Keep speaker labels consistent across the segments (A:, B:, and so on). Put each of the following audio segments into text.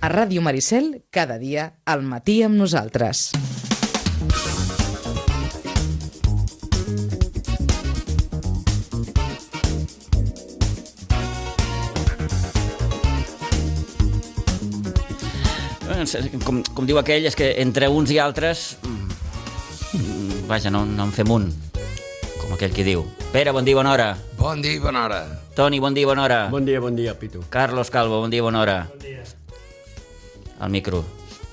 A: A Ràdio Maricel, cada dia, al matí amb nosaltres.
B: Eh, Com, com diu aquell, és que entre uns i altres... mm, Vaja, no, no en fem un, com aquell que diu. Pere, bon dia, bona hora.
C: Bon dia i bona hora.
B: Toni, bon dia, bona hora.
D: Bon dia, bon dia, Pitu.
B: Carlos Calvo, bon dia, bona hora. Bon dia. Al micro.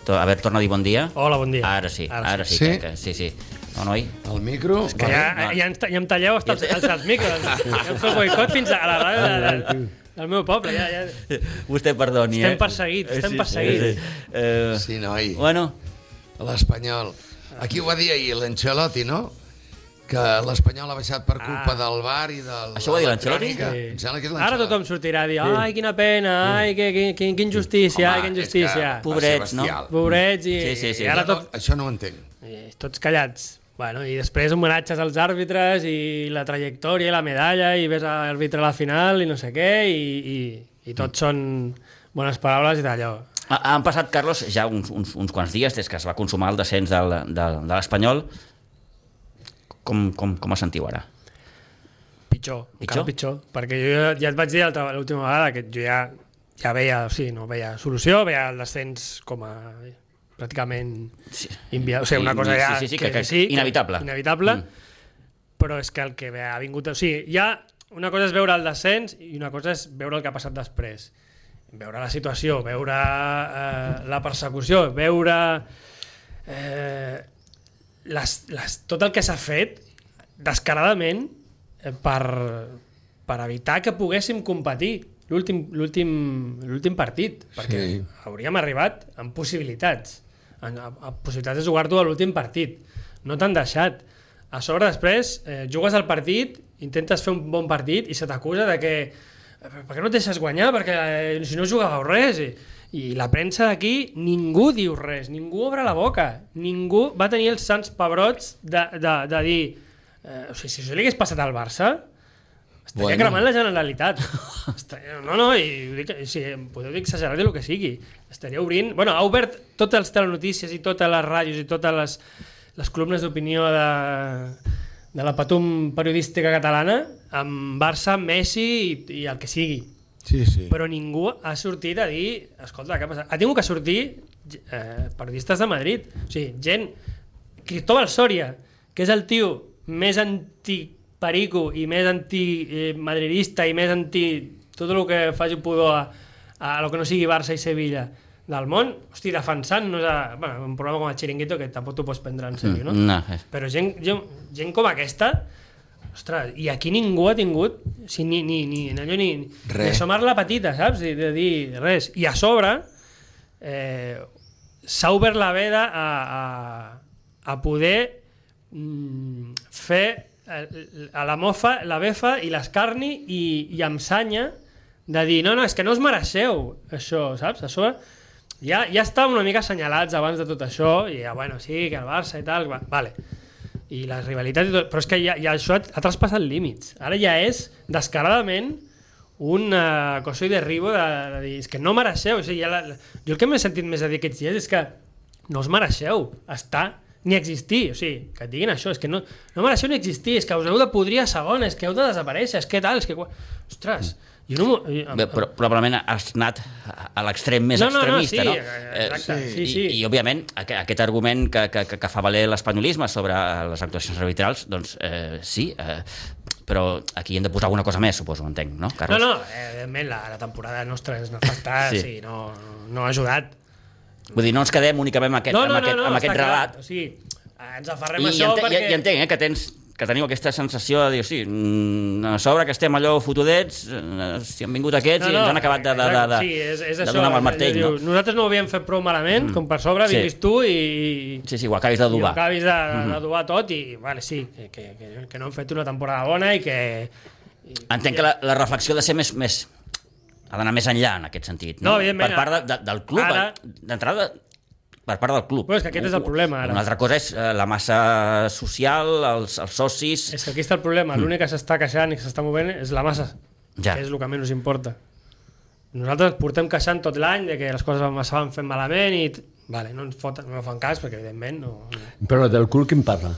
B: To- A veure, torna a dir bon dia.
E: Hola, bon dia.
B: Ara sí, ara, sí,
C: Sí?
B: crec Que, sí, sí. No, noi?
C: El micro...
E: Que ja, ja, ens, ta- ja em talleu hasta els, els, els micros. Ja em feu boicot fins a la ràdio de, de, del meu poble. Ja, ja.
B: Vostè perdoni,
E: Estem
B: eh?
E: perseguits,
B: Sí,
E: estem
B: sí,
E: perseguits.
B: sí. Eh,
C: Sí, noi.
B: Bueno,
C: L'Espanyol. Aquí ho va dir ahir l'Ancelotti, no? Que l'Espanyol ha baixat per culpa ah. del bar i del...
B: Això ho va dir l'Ancelotti?
C: Sí. Em sembla que és
E: Ara tothom sortirà a dir, ai, quina pena, ai, que, que, que, que injustícia, ai, que injustícia.
B: que- Pobrets, no?
E: Pobrets i,
B: Sí, sí, sí.
E: i ara tot,
C: Això no ho entenc.
E: Eh, tots callats. Bueno, I després homenatges als àrbitres i la trajectòria i la medalla i ves a l'àrbitre a la final i no sé què i, i, i tot són bones paraules i d'allò.
B: Ha- Ah, Han passat, Carlos, ja uns, uns, uns quants dies des que es va consumar el descens del, de, de l'Espanyol. Com, com, com es sentiu ara?
E: Pitjor, pitjor, encara pitjor. Perquè jo ja, ja et vaig dir l'altra- l'última vegada que jo ja, ja veia, o sigui, no veia solució, veia el descens com a pràcticament
B: Sí.
E: Invia... O sigui, una
B: Sí,
E: cosa
B: sí,
E: ja...
B: sí, sí, que- que- inevitable.
E: Inevitable, mm. però és que el que ha vingut... O sigui, ja una cosa és veure el descens i una cosa és veure el que ha passat després. Veure la situació, veure eh, la persecució, veure eh, les, les, tot el que s'ha fet descaradament eh, per, per evitar que poguéssim competir l'últim l'últim- l'últim partit, perquè
C: Sí.
E: hauríem arribat amb possibilitats en, a, a possibilitats de jugar-t'ho a l'últim partit no t'han deixat a sobre després eh, jugues al partit intentes fer un bon partit i se t'acusa de que eh, per què no et deixes guanyar perquè eh, si no jugàveu res i, i la premsa d'aquí ningú diu res ningú obre la boca ningú va tenir els sants pebrots de, de, de dir eh, o sigui, si això li hagués passat al Barça estaria
C: Bueno.
E: bueno. cremant la Generalitat. Estaria, no, no, i ho dic, si em podeu exagerar de lo que sigui. Estaria obrint... Bueno, ha obert totes les telenotícies i totes les ràdios i totes les, les columnes d'opinió de, de la patum periodística catalana amb Barça, Messi i, i el que sigui.
C: Sí, sí.
E: Però ningú ha sortit a dir, escolta, què ha passat? Ha tingut que sortir eh, periodistes de Madrid, o sigui, gent... Cristóbal Soria, que és el tio més antiperico i més antimadridista i més anti... tot el que faci pudor a, a lo que no sigui Barça i Sevilla del món, hosti, defensant-nos a... Bueno, un programa com el Chiringuito que tampoc t'ho pots prendre en sèrio, no?
B: no eh.
E: Però gent, gent, gent com aquesta, ostres, i aquí ningú ha tingut o sigui, ni, ni, ni, ni, allò, ni, ni
C: Res.
E: assomar la patita, saps? De, de dir res. I a sobre eh, s'ha obert la veda a, a, a poder mm, fer eh, a la mofa, la befa i l'escarni i, i amb sanya de dir, no, no, és que no us mereixeu això, saps? A sobre ja, ja estàvem una mica assenyalats abans de tot això i ja, bueno, sí, que el Barça i tal, va, vale i les rivalitats i tot, però és que ja, ja això ha, ha traspassat límits. Ara ja és descaradament un uh, coso i derribo de, de dir, és que no mereixeu, o sigui, ja la, la, jo el que m'he sentit més a dir aquests dies és que no us mereixeu estar ni existir, o sigui, que et diguin això, és que no, no mereixeu ni existir, és que us heu de podrir a segona, és que heu de desaparèixer, és que tal, és que... qua- Ostres, jo no... m'ho- jo-
B: Bé, però, probablement has anat a- a l'extrem més
E: No, no, no,
B: extremista,
E: sí,
B: no?
E: eh, exacte,
B: Eh,
E: sí,
B: i,
E: sí.
B: I, òbviament, aqu- aquest argument que, que, que- que fa valer l'espanyolisme sobre eh, les actuacions arbitrals, doncs eh, sí, eh, però aquí hem de posar alguna cosa més, suposo, entenc, no,
E: No,
B: Carlos?
E: no, evidentment la, la temporada nostra és nefasta,
B: Sí.
E: sí. sí, no, no ha ajudat,
B: Vull dir, no ens quedem únicament amb aquest, amb aquest, amb aquest
E: està
B: relat,
E: Clar. O sigui, ens aferrem
B: I,
E: a això
B: ente-
E: perquè...
B: i, i entenc eh, que tens que teniu aquesta sensació de dir, sí, mm, a sobre que estem allò fotudets, eh, si han vingut aquests i ens han acabat de, de, de, de,
E: sí, és, és
B: de
E: això,
B: donar amb el martell.
E: diu,
B: No?
E: Nosaltres no ho havíem fet prou malament, mm. com per sobre
B: Sí.
E: vinguis tu i,
B: Sí, Mm-hmm. sí, ho acabis de
E: i ho
B: dubar.
E: acabis de, de dubar tot i, vale, sí, que, que, que, que no hem fet una temporada bona i que...
B: Entenc que la, la reflexió ha de ser més, més... ha d'anar més enllà en aquest sentit. No,
E: No, evidentment,
B: Per part de, de, del club,
E: ara-
B: eh, d'entrada, per part del club.
E: Però és que aquest és el problema, ara.
B: Una altra cosa és eh, la massa social, els, els socis...
E: És que aquí està el problema, l'únic que s'està queixant i que s'està movent és la massa,
B: Mm. Ja.
E: que és el que menys importa. Nosaltres portem queixant tot l'any de que les coses es van fent malament i... t- Vale, no ens foten, no fan cas perquè evidentment no... no.
D: Però del cul qui en parla?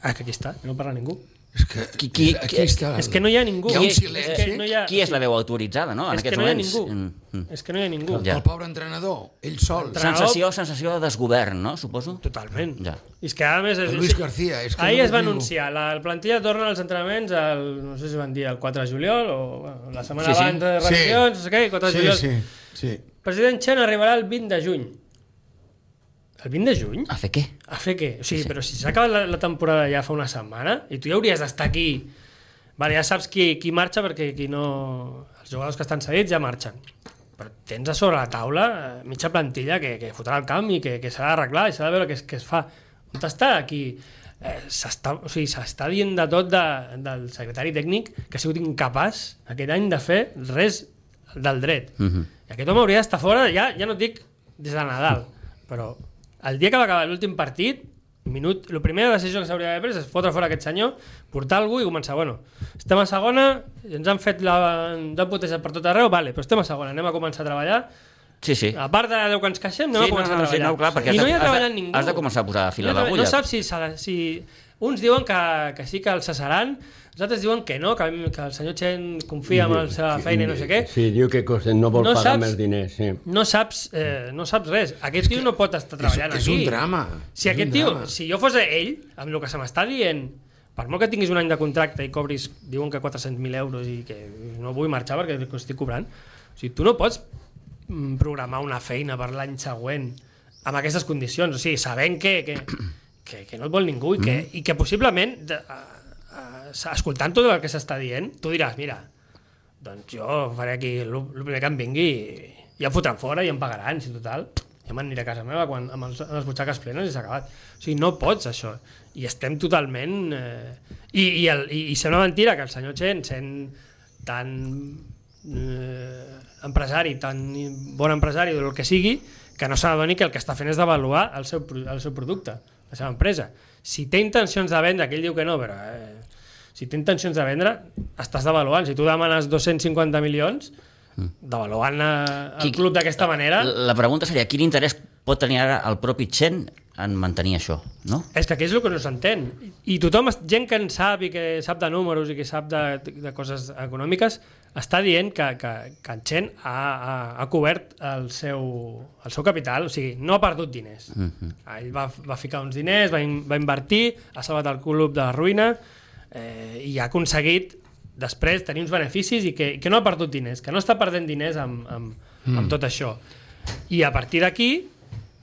E: Ah, que aquí està, que no parla ningú.
C: És que,
B: Qui- qui-
C: aquí
B: qui-
C: està...
E: És que no hi ha ningú.
C: Hi ha un
E: És que-
C: silenci.
E: És que no hi ha,
B: Qui és la veu autoritzada, no? En
E: és que
B: aquests
E: no hi ha
B: moments.
E: ningú.
B: Mm, mm.
E: És que no hi ha ningú.
B: Ja.
C: El pobre entrenador, ell sol.
E: Entrenador.
B: Sensació, sensació de desgovern, no? Suposo.
E: Totalment.
B: Ja.
E: I és que a més...
C: El Luis García, és que
E: Ahir
C: no
E: es va
C: ningú.
E: anunciar, la, la plantilla torna als entrenaments el, no sé si van dir el 4 de juliol o bueno, la setmana
B: Sí,
E: sí,
B: sí.
E: sí. abans de
C: Sí.
E: revisions, no sé què, 4 de
C: Sí,
E: juliol.
C: sí, sí.
E: President Chen arribarà el 20 de juny. El 20 de juny?
B: A fer què?
E: A fer què? O sigui, però si s'ha acabat la, la temporada ja fa una setmana i tu ja hauries d'estar aquí. Vale, ja saps qui, qui marxa perquè qui no... els jugadors que estan cedits ja marxen. Però tens a sobre la taula eh, mitja plantilla que, que fotrà al camp i que, que s'ha d'arreglar i s'ha de veure què, es- què es fa. On està aquí? Eh, s'està o sigui, s'està dient de tot de, del secretari tècnic que ha sigut incapaç aquest any de fer res del dret.
B: Mhm.
E: I aquest home hauria d'estar fora, ja, ja no et dic des de Nadal, però el dia que va acabar l'últim partit, minut, la primera decisió que s'hauria d'haver pres és fotre fora aquest senyor, portar algú i començar, bueno, estem a segona, ens han fet la... ens han putejat per tot arreu, vale, però estem a segona, anem a començar a treballar,
B: Sí, sí.
E: a part de deu que ens queixem, anem
B: Sí,
E: a començar
B: no, no,
E: a
B: sí,
E: treballar.
B: no, clar, perquè has
E: I
B: de-
E: no hi ha
B: has de-
E: treballat ningú.
B: has de començar a posar fil a
E: No he treballat-
B: l'agulla.
E: No saps si, serà- si... Uns diuen que, que sí que el cessaran, els altres diuen que no, que, que el senyor Chen confia en la seva feina i no sé què.
D: Sí, diu que Cosen no vol
E: No
D: pagar
E: saps-
D: més diners, sí.
E: no saps, eh, no saps res. Aquest tio no pot estar
C: És,
E: treballant
C: és
E: aquí.
C: un drama.
E: Si
C: és
E: aquest
C: un
E: tio,
C: drama.
E: si jo fos ell, amb el que se m'està dient, per molt que tinguis un any de contracte i cobris, diuen que 400.000 euros i que no vull marxar perquè ho estic cobrant, o sigui, tu no pots mm, programar una feina per l'any següent amb aquestes condicions, o sigui, sabent que, que, que, que no et vol ningú i que,
C: Mm.
E: i que possiblement, de, a, a, escoltant tot el que s'està dient, tu diràs, mira, doncs jo faré aquí el el primer que em vingui i ja em fotran fora i em pagaran, si total ja me'n aniré a casa meva quan, amb, els, amb les butxaques plenes i s'ha acabat. O sigui, no pots això. I estem totalment... Eh, i, i, el, i, I sembla mentira que el senyor Chen, sent tan eh, empresari, tan bon empresari del que sigui, que no s'ha de venir que el que està fent és d'avaluar el, seu, pro- el seu producte, la seva empresa. Si té intencions de vendre, que ell diu que no, però... Eh, si té intencions de vendre, estàs devaluant. Si tu demanes 250 milions, devaluant eh, el
B: Qui- Eh,
E: club d'aquesta manera...
B: La pregunta seria, quin interès pot tenir ara el propi Chen en mantenir això, no?
E: És que aquest és el que no s'entén. I tothom, gent que en sap i que sap de números i que sap de, de coses econòmiques, està dient que, que, que en Chen ha, ha, ha cobert el seu, el seu capital, o sigui, no ha perdut diners. Mm -hmm. Ell va, va ficar uns diners, va, in, va invertir, ha salvat el club de la ruïna eh, i ha aconseguit després tenir uns beneficis i que, i que no ha perdut diners, que no està perdent diners amb, amb, mm. amb tot això. I a partir d'aquí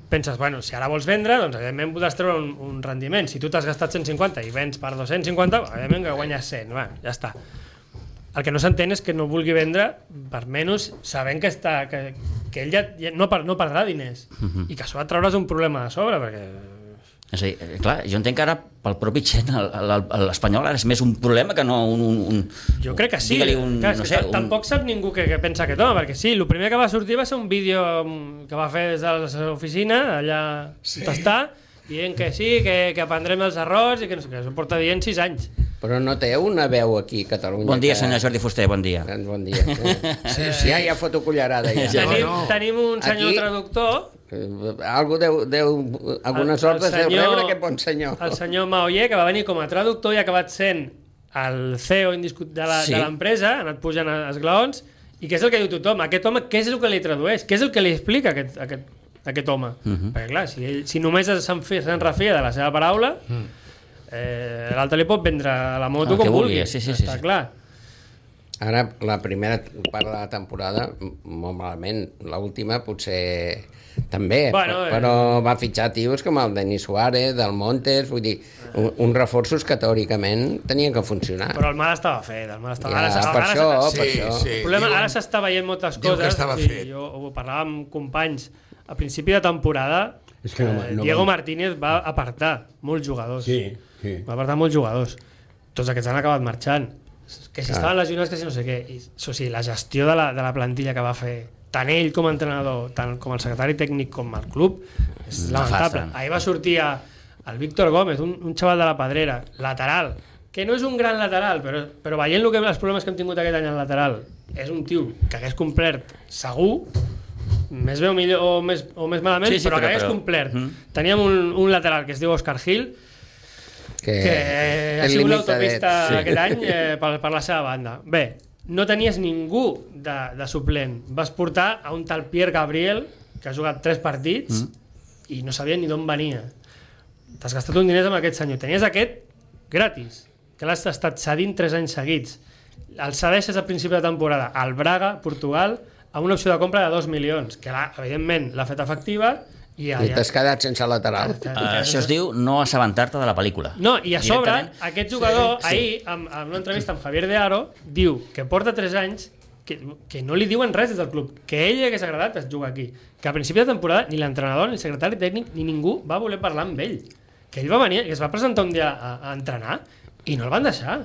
E: penses, bueno, si ara vols vendre, doncs evidentment podràs treure un, un rendiment. Si tu t'has gastat 150 i vens per 250, evidentment que guanyes 100, va, ja està. El que no s'entén és que no vulgui vendre per menys sabent que, està, que, que ell ja, ja no, per, no perdrà diners
B: Mhm.
E: i que a sobre et trauràs un problema de sobre perquè...
B: És a dir, eh, clar, jo entenc que ara pel propi Chen el- el- el- l'espanyol ara és més un problema que no un... un, un
E: Jo crec que sí,
B: Digue-li un,
E: Clar, és
B: no
E: que
B: sé,
E: ta-
B: un...
E: tampoc sap ningú què, què pensa aquest home, perquè sí, el primer que va sortir va ser un vídeo mm, que va fer des de la seva oficina, allà sí. on està, dient que sí, que, que aprendrem els errors i que no sé què, això ho porta dient 6 anys.
F: Però no té una veu aquí a Catalunya.
B: Bon dia,
F: que-
B: senyor Jordi Fuster, bon dia.
F: Doncs Bon dia. Sí, sí. Ja, ja foto cullerada, ja.
C: Ja.
E: tenim,
C: no.
E: tenim un senyor
F: Aquí-
E: Aquí... traductor
F: Eh, Algú deu, deu, algunes
E: El- el
F: hordes deu
E: senyor-
F: rebre aquest bon senyor.
E: el senyor Maoyer, que va venir com a traductor i ha acabat sent el CEO indiscut de la-
B: Sí.
E: de l'empresa, sí. ha anat pujant a- esglaons, i què és el que diu tothom? Aquest home, què és el que li tradueix? Què és el que li explica aquest, aquest, aquest home? Uh
B: Mhm.
E: -huh. Perquè clar, si, ell, si només es- se'n fi- se'n refia de la seva paraula, uh -huh. eh, l'altre li pot vendre la
B: Mhm. Ah,
E: moto
B: El que
E: com
B: vulgui,
E: vulgui.
B: sí, sí, sí,
E: Està
B: sí.
E: clar.
F: Ara, la primera part de la temporada, m- molt malament. L'última, potser, també.
E: Bueno,
F: però,
E: eh.
F: però va fitxar tios com el Denis Suárez, del Montes, vull dir, un, uns reforços que teòricament tenien que funcionar.
E: Però el mal estava fet, el mal estava...
F: Ja,
E: ara, s'ha-
F: per
E: ara, s'ha-
F: això,
C: Sí,
F: per això.
C: sí.
E: El problema,
C: diuen-
E: ara s'està veient moltes
C: diuen
E: coses.
C: que estava
E: i
C: fet.
E: Jo ho parlava amb companys. A principi de temporada,
D: És que no-
E: eh,
D: no
E: Diego
D: van-
E: Martínez va apartar molts jugadors.
D: Sí, sí.
E: Va apartar molts jugadors. Tots aquests han acabat marxant. Que si estaven lesionats, que si no sé què. I, o sigui, la gestió de la, de la plantilla que va fer tant ell com a entrenador, tant com el secretari tècnic com el club, és lamentable.
B: Nefasta.
E: Ahir va sortir a, el Víctor Gómez, un, un xaval de la Pedrera, lateral, que no és un gran lateral, però, però veient lo que, els problemes que hem tingut aquest any al lateral, és un tio que hagués complert segur, més bé o, millor, o, més, o més malament,
B: Sí, sí,
E: però,
B: però-
E: que hagués
B: però-
E: complert.
B: Mhm.
E: Teníem un, un lateral que es diu Oscar Gil,
F: Que,
E: que Eh, ha
F: el
E: sigut una
F: limitadet.
E: autopista sí. aquest any eh, per, per la seva banda. Bé, no tenies ningú de, de suplent. Vas portar a un tal Pierre Gabriel, que ha jugat tres partits mm. i no sabia ni d'on venia. T'has gastat un diners amb aquest senyor. Tenies aquest gratis, que l'has estat cedint tres anys seguits. El cedeixes a principi de temporada al Braga, Portugal, amb una opció de compra de 2 milions, que l'ha- evidentment l'ha fet efectiva i,
F: I t'has quedat sense lateral.
B: Uh, això es diu no assabentar-te de la pel·lícula.
E: No, i a sobre,
B: Directament.
E: aquest jugador, sí, sí. ahir, amb, amb una entrevista amb Javier de Aro, diu que porta 3 anys que, que no li diuen res des del club, que ell li hagués agradat es jugar aquí, que a principi de temporada ni l'entrenador, ni el secretari tècnic, ni ningú va voler parlar amb ell. Que ell va venir, que es va presentar un dia a, a entrenar i no el van deixar.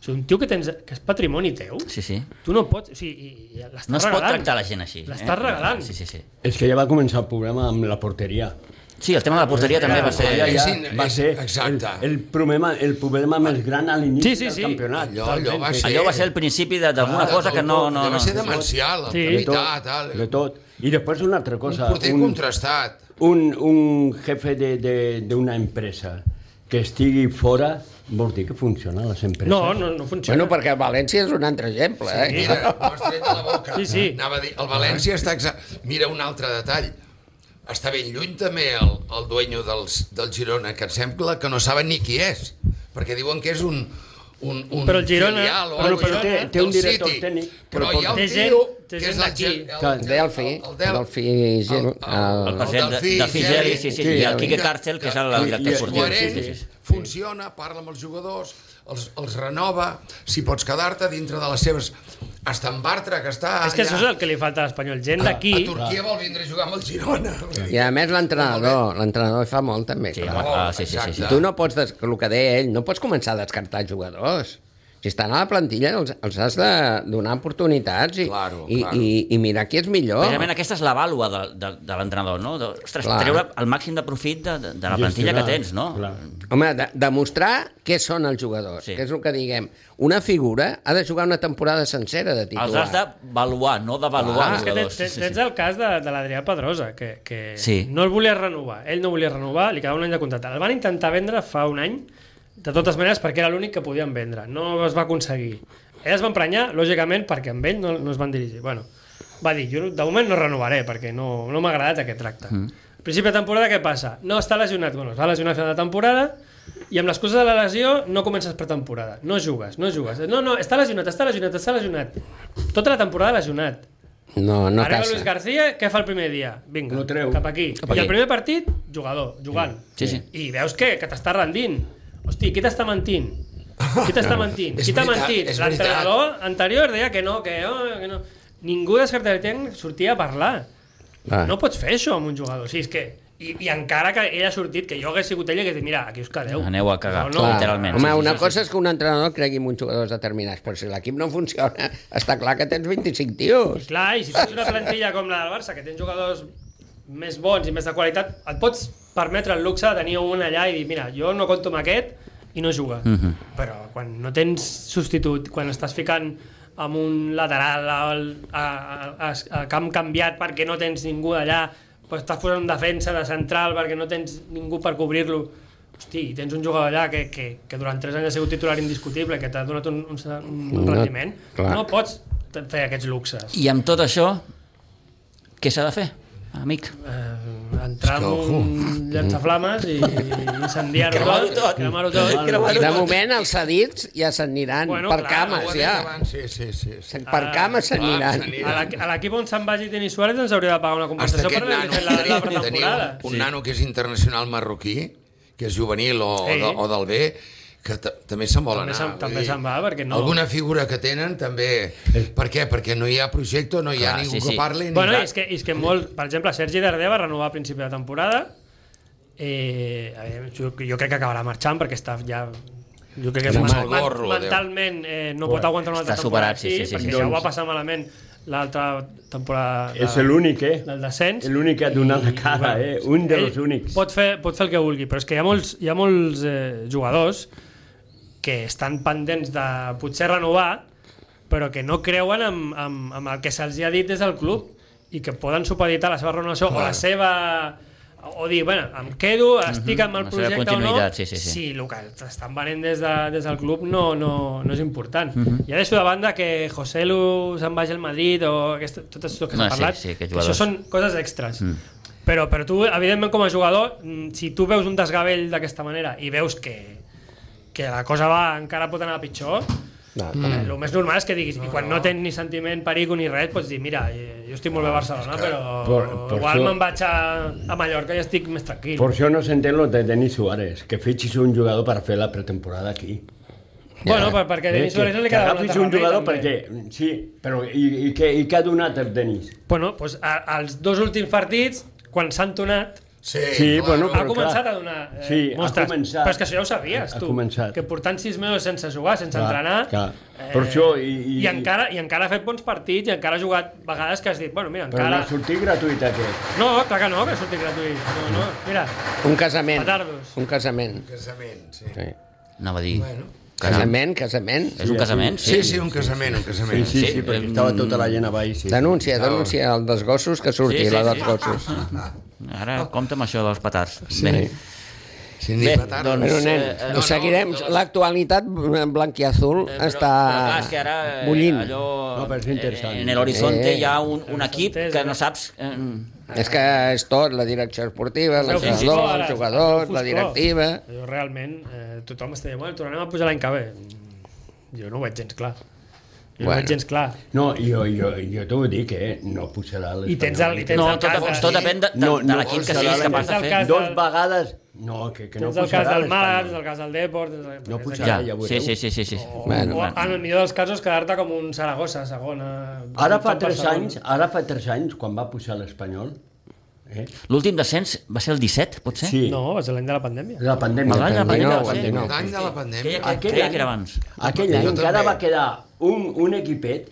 E: O sigui, un tio que, tens, que és patrimoni teu,
B: Sí, sí.
E: tu no pots... O sigui, i- i l'estàs
B: No es pot
E: regalant.
B: tractar la gent així. eh?
E: L'estàs regalant.
B: Sí, sí, sí.
D: És que ja va començar el problema amb la porteria.
B: Sí, el tema de la porteria també va ser...
C: Ja, ja.
B: Sí,
C: Sí,
D: va
C: és-
D: ser
C: exacte.
D: El, el, problema, el problema més gran a l'inici
E: Sí, sí,
D: del
E: sí.
D: campionat.
C: Allò- allò va
D: Totalment.
C: ser-
B: Allò va ser el principi de-
C: Ah,
B: d'alguna cosa que no... no,
C: Allò
B: no.
C: Va ser demencial, sí.
E: Sí.
D: De tot,
C: veritat, tal.
D: de tot. I després una altra cosa.
C: Porter un... contrastat.
D: un, un jefe de- de- d'una empresa que estigui fora vol dir que funcionen les empreses.
E: No, no, no funciona.
F: Bueno, perquè València és un altre exemple, sí. eh?
C: Mira, m'ho has tret de la boca.
E: Sí, sí.
C: Anava a dir, el València està... Exa... Mira, un altre detall. Està ben lluny també el, el dueño dels, del Girona, que em sembla que no saben ni qui és, perquè diuen que és un, un, un
E: Però el Girona-
C: filial o
E: però
C: algo
E: però
C: així
E: té-
D: té un
C: del
D: director
C: City.
D: tècnic,
C: Però
D: però
C: hi ha un
E: té gent-
C: tio
E: té
C: que és
E: gent
C: el,
E: d'aquí.
C: Gil-
D: Que-
C: el,
F: Delphi, Delphi Gil, el-
B: El president de, de Figeli, sí, sí, sí, i el Quique Càrcel, que és el el
D: i-
B: director
D: i-
B: esportiu. Sí,
C: coherent,
B: sí, sí.
C: funciona, parla amb els jugadors, els, els renova, si pots quedar-te dintre de les seves... Hasta en Bartra, que està
E: és que
C: allà,
E: això és el que li falta a l'Espanyol.
B: Ah,
E: Gent
C: a
E: d'aquí...
C: Turquia vol vindre a jugar amb el Girona.
F: I a més l'entrenador, l'entrenador fa molt també.
B: Sí,
F: clar. Ah,
B: home, clar, Ah, sí, sí, sí, sí.
C: Exacte.
F: Tu no pots, des... el que deia ell, no pots començar a descartar jugadors. Si estan a la plantilla, els, els has de donar oportunitats i,
C: Claro,
F: i,
C: claro.
F: i, i mirar qui és millor.
B: Precisament aquesta és la vàlua de, de, de l'entrenador, no? De, ostres,
F: Oh. Clar.
B: treure el màxim de profit de, de, de la plantilla que
D: Gestionar,
B: tens, no?
D: clar.
F: Home, de, demostrar què són els jugadors,
B: Sí.
F: sí. que és el que diguem. Una figura ha de jugar una temporada sencera de titular.
B: Els has d'avaluar, no d'avaluar. els
E: Ah,
F: Clar.
E: És que
B: jugadors.
E: tens,
B: Sí,
E: tens,
B: sí,
E: tens
B: sí.
E: el cas de, de l'Adrià Pedrosa, que, que
B: Sí.
E: no el volia renovar. Ell no volia renovar, li quedava un any de contracte. El van intentar vendre fa un any, de totes maneres, perquè era l'únic que podien vendre. No es va aconseguir. Ell es va emprenyar, lògicament, perquè amb ell no, no es van dirigir. Bueno, va dir, jo de moment no renovaré, perquè no, no m'ha agradat aquest tracte. Mm. Al principi de temporada, què passa? No està lesionat. Bueno, es va lesionar a final de temporada, i amb l'excusa de la lesió no comences pretemporada. No jugues, no jugues. No, no, està lesionat, està lesionat, està lesionat. Tota la temporada lesionat.
F: No, no
E: Arriba Luis
F: casa.
E: García, què fa el primer dia? Vinga,
D: Lo treu.
E: cap aquí.
F: Cap
E: I
F: aquí.
E: el primer partit, jugador, jugant.
B: Sí, sí.
E: I veus que, que t'està rendint. Hosti, qui t'està mentint? Qui t'està mentint?
C: És
E: qui t'ha
C: veritat,
E: mentit?
C: és
E: L'entrenador anterior deia que no, que, oh, que no. Ningú de secretari tècnic sortia a parlar.
F: Ah.
E: No pots fer això amb un jugador. O sigui, és que... I, I encara que ell ha sortit, que jo hagués sigut ell, que dit, mira, aquí us quedeu.
B: Aneu a cagar,
E: No, no.
B: literalment.
F: Home,
B: Sí, sí,
F: una
B: sí,
F: cosa és que un entrenador cregui en uns jugadors determinats, però si l'equip no funciona, està clar que tens 25 tios.
E: Clar, i si tens una plantilla com la del Barça, que tens jugadors més bons i més de qualitat, et pots permetre el luxe de tenir un allà i dir, mira, jo no compto amb aquest i no juga. Mm -hmm. Però quan no tens substitut, quan estàs ficant amb un lateral al, a, a, a, a camp canviat perquè no tens ningú allà, però estàs posant un defensa de central perquè no tens ningú per cobrir-lo, hosti, i tens un jugador allà que, que, que durant 3 anys ha sigut titular indiscutible, que t'ha donat un, un, un
F: No,
E: rendiment, no,
F: clar.
E: no pots fer aquests luxes.
B: I amb tot això, què s'ha de fer, amic?
E: eh, entrar amb un llançaflames i incendiar-ho
B: Cremar-ho
E: tot,
B: tot.
E: cremar-ho tot.
F: De moment, els cedits ja s'aniran
E: Bueno,
F: bueno, per
E: clar,
F: cames,
C: doncs- Ho ha dit
F: ja.
C: abans, sí, sí, sí. sí.
F: Per cames s'aniran.
C: s'aniran.
E: A la- A l'equip on se'n vagi Denis Suárez ens hauria de pagar una
C: Hasta
E: compensació per
C: aquest
E: haver
C: nano,
E: fet la, la
C: teniu, teniu
E: pretemporada.
C: un, un nano que és internacional marroquí, que és juvenil o,
E: Sí.
C: sí. o, de, o del B, que ta- també se'n vol
E: També
C: anar.
E: se'n-
C: vull
E: també
C: dir,
E: se'n va, perquè no-
C: Alguna figura que tenen, també... Per què? Perquè no hi ha projecte, no hi ha
B: Clar,
C: ningú
B: sí, sí.
C: que parli... ni
E: Bueno,
C: res.
E: és que, és que molt, per exemple, Sergi Darder va renovar a principi de temporada. Eh, a veure, jo, jo crec que acabarà marxant perquè està ja jo crec que
C: Ja
E: men-
C: amb el gorro, Déu.
E: mentalment eh, no pot aguantar una altra
B: Està
E: temporada
B: superat, sí, sí, sí,
E: perquè
B: sí.
E: ja ho va passar malament l'altra temporada de-
D: És l'únic, eh?
E: del descens.
D: L'únic que ha donat la
E: I-
D: cara,
E: i,
D: eh? Un dels
E: ell
D: únics.
E: Pot fer, pot fer el que vulgui, però és que hi ha molts, hi ha molts eh, jugadors que estan pendents de potser renovar, però que no creuen amb, amb, amb el que se'ls ha dit des del club i que poden supeditar la seva renovació o
C: Clar.
E: la seva o dir, bueno, em quedo, estic amb
B: Mhm.
E: el
B: la seva
E: projecte o no,
B: continuïtat, sí, sí, sí.
E: si el que estan venent des, de, des del club no, no, no és important. Uh
B: Mhm.
E: -huh. Ja deixo de banda que José Lu se'n vagi al Madrid o aquest, totes aquestes que
B: No,
E: s'han
B: sí,
E: parlat,
B: sí, aquests
E: que això
B: jugadors.
E: són coses extres. Mm. Però, però tu, evidentment, com a jugador, mm, si tu veus un desgavell d'aquesta manera i veus que, que la cosa va encara pot anar a pitjor,
F: No,
E: Mm. El més normal és que diguis, i quan no tens ni sentiment, perico ni res, pots dir, mira, eh, jo estic molt bé a Barcelona, però
D: Por- por
E: igual
D: això-
E: me'n vaig a, a Mallorca i estic més tranquil.
D: Por això no s'entén lo de Denis Suárez, que fitxis un jugador per fer la pretemporada aquí.
E: Bueno, per, perquè a
D: Eh,
E: Denis Suárez no li
D: que
E: quedava un
D: agafis
E: altre
D: un jugador
E: remei, també.
D: perquè... mm, Sí, però i, i, què, i què ha donat el Denis?
E: Bueno, doncs, a, als dos últims partits, quan s'han tornat,
C: Sí,
D: Sí, bueno,
E: ha
D: però
E: començat
D: clar.
E: a donar eh,
D: Sí, ha
E: mostres.
D: començat.
E: Però és que això ja ho sabies,
D: Ha
E: tu.
D: començat.
E: Que portant sis mesos sense jugar, sense
D: Clar,
E: entrenar... eh,
D: clar. Per això, i- i-
E: I, encara, I encara ha fet bons partits, i encara ha jugat vegades que has dit, bueno, mira,
D: Però Cara.
E: encara...
D: no ha sortit gratuït aquest.
E: No, clar que no, que surti gratuït. No, no, mira,
F: Un casament.
E: Petardos.
F: Un casament.
C: Casament, sí.
F: Sí.
B: Anava a dir...
C: Bueno.
B: Caram,
F: Casament, casament.
B: és un casament, sí.
C: Sí, sí, un casament, un
D: Sí,
C: casament.
D: sí, sí,
B: Sí,
D: sí perquè
B: em-
D: estava tota la gent a baix. Sí.
F: Denúncia, denúncia el dels gossos que surti,
B: Sí, sí,
F: la dels
B: sí.
F: gossos.
B: Ara compta amb això dels petards. Sí. Bé,
C: Sí, ni
B: bé
C: petards.
B: doncs...
F: Però nen,
B: eh,
F: ho seguirem.
C: no, de les-
F: L'actualitat blanc i azul
B: Eh,
F: està
B: però clar, és que ara, eh,
F: bullint.
B: Allò,
D: No, però és interessant.
B: eh, En l'horizonte
F: Eh.
B: hi ha un, un equip
E: és-
B: que no saps... Eh,
F: És que és tot, la direcció esportiva,
E: Feu
F: l'entrenador,
E: Fuscó, ara,
F: els jugadors,
E: Fuscó.
F: la directiva...
E: Jo realment, eh, tothom està dient, bueno, tornarem a pujar l'any que ve. Jo no ho veig gens clar. Jo bueno. no ho
F: Bueno.
E: veig gens clar.
D: No, jo, jo, jo t'ho dic, eh? No posarà l'Espanyol.
E: I tens el- i tens
B: no,
E: el
B: tot,
E: cas de-
B: tot depèn de, de,
D: No,
B: de
D: no,
B: l'equip que
D: serà
B: siguis
D: la-
B: capaç de
E: Tens el
B: fer.
E: cas
D: Dos
E: del-
D: vegades... No, que, que no
E: Tens el cas
D: posarà
E: del Màlaga, tens
D: l'Espanyol.
E: el cas del Deport... Tens el...
D: No
E: tens
D: pujarà.
E: el-
B: Ja,
D: Ah, ja ho
B: sí,
D: veureu.
B: sí, sí, sí, sí.
E: O,
F: Bueno,
E: bueno, o, ah, en el millor dels casos, quedar-te com un Saragossa, segona...
D: Ara fa
E: mitjan per
D: tres
E: segona.
D: anys, ara fa tres anys, quan va pujar l'Espanyol, eh?
B: L'últim descens va ser el 17, potser?
D: sí,
E: No, va ser l'any de la pandèmia.
D: la pandèmia.
B: Malgrat la
F: pandèmia,
D: la
F: sí.
D: pandèmia.
C: L'any de la
B: Creia,
C: pandèmia.
B: que,
D: Aquell
B: creia
D: any.
B: que era abans.
D: Aquell any
C: Jo
D: encara
C: també.
D: va quedar un, un equipet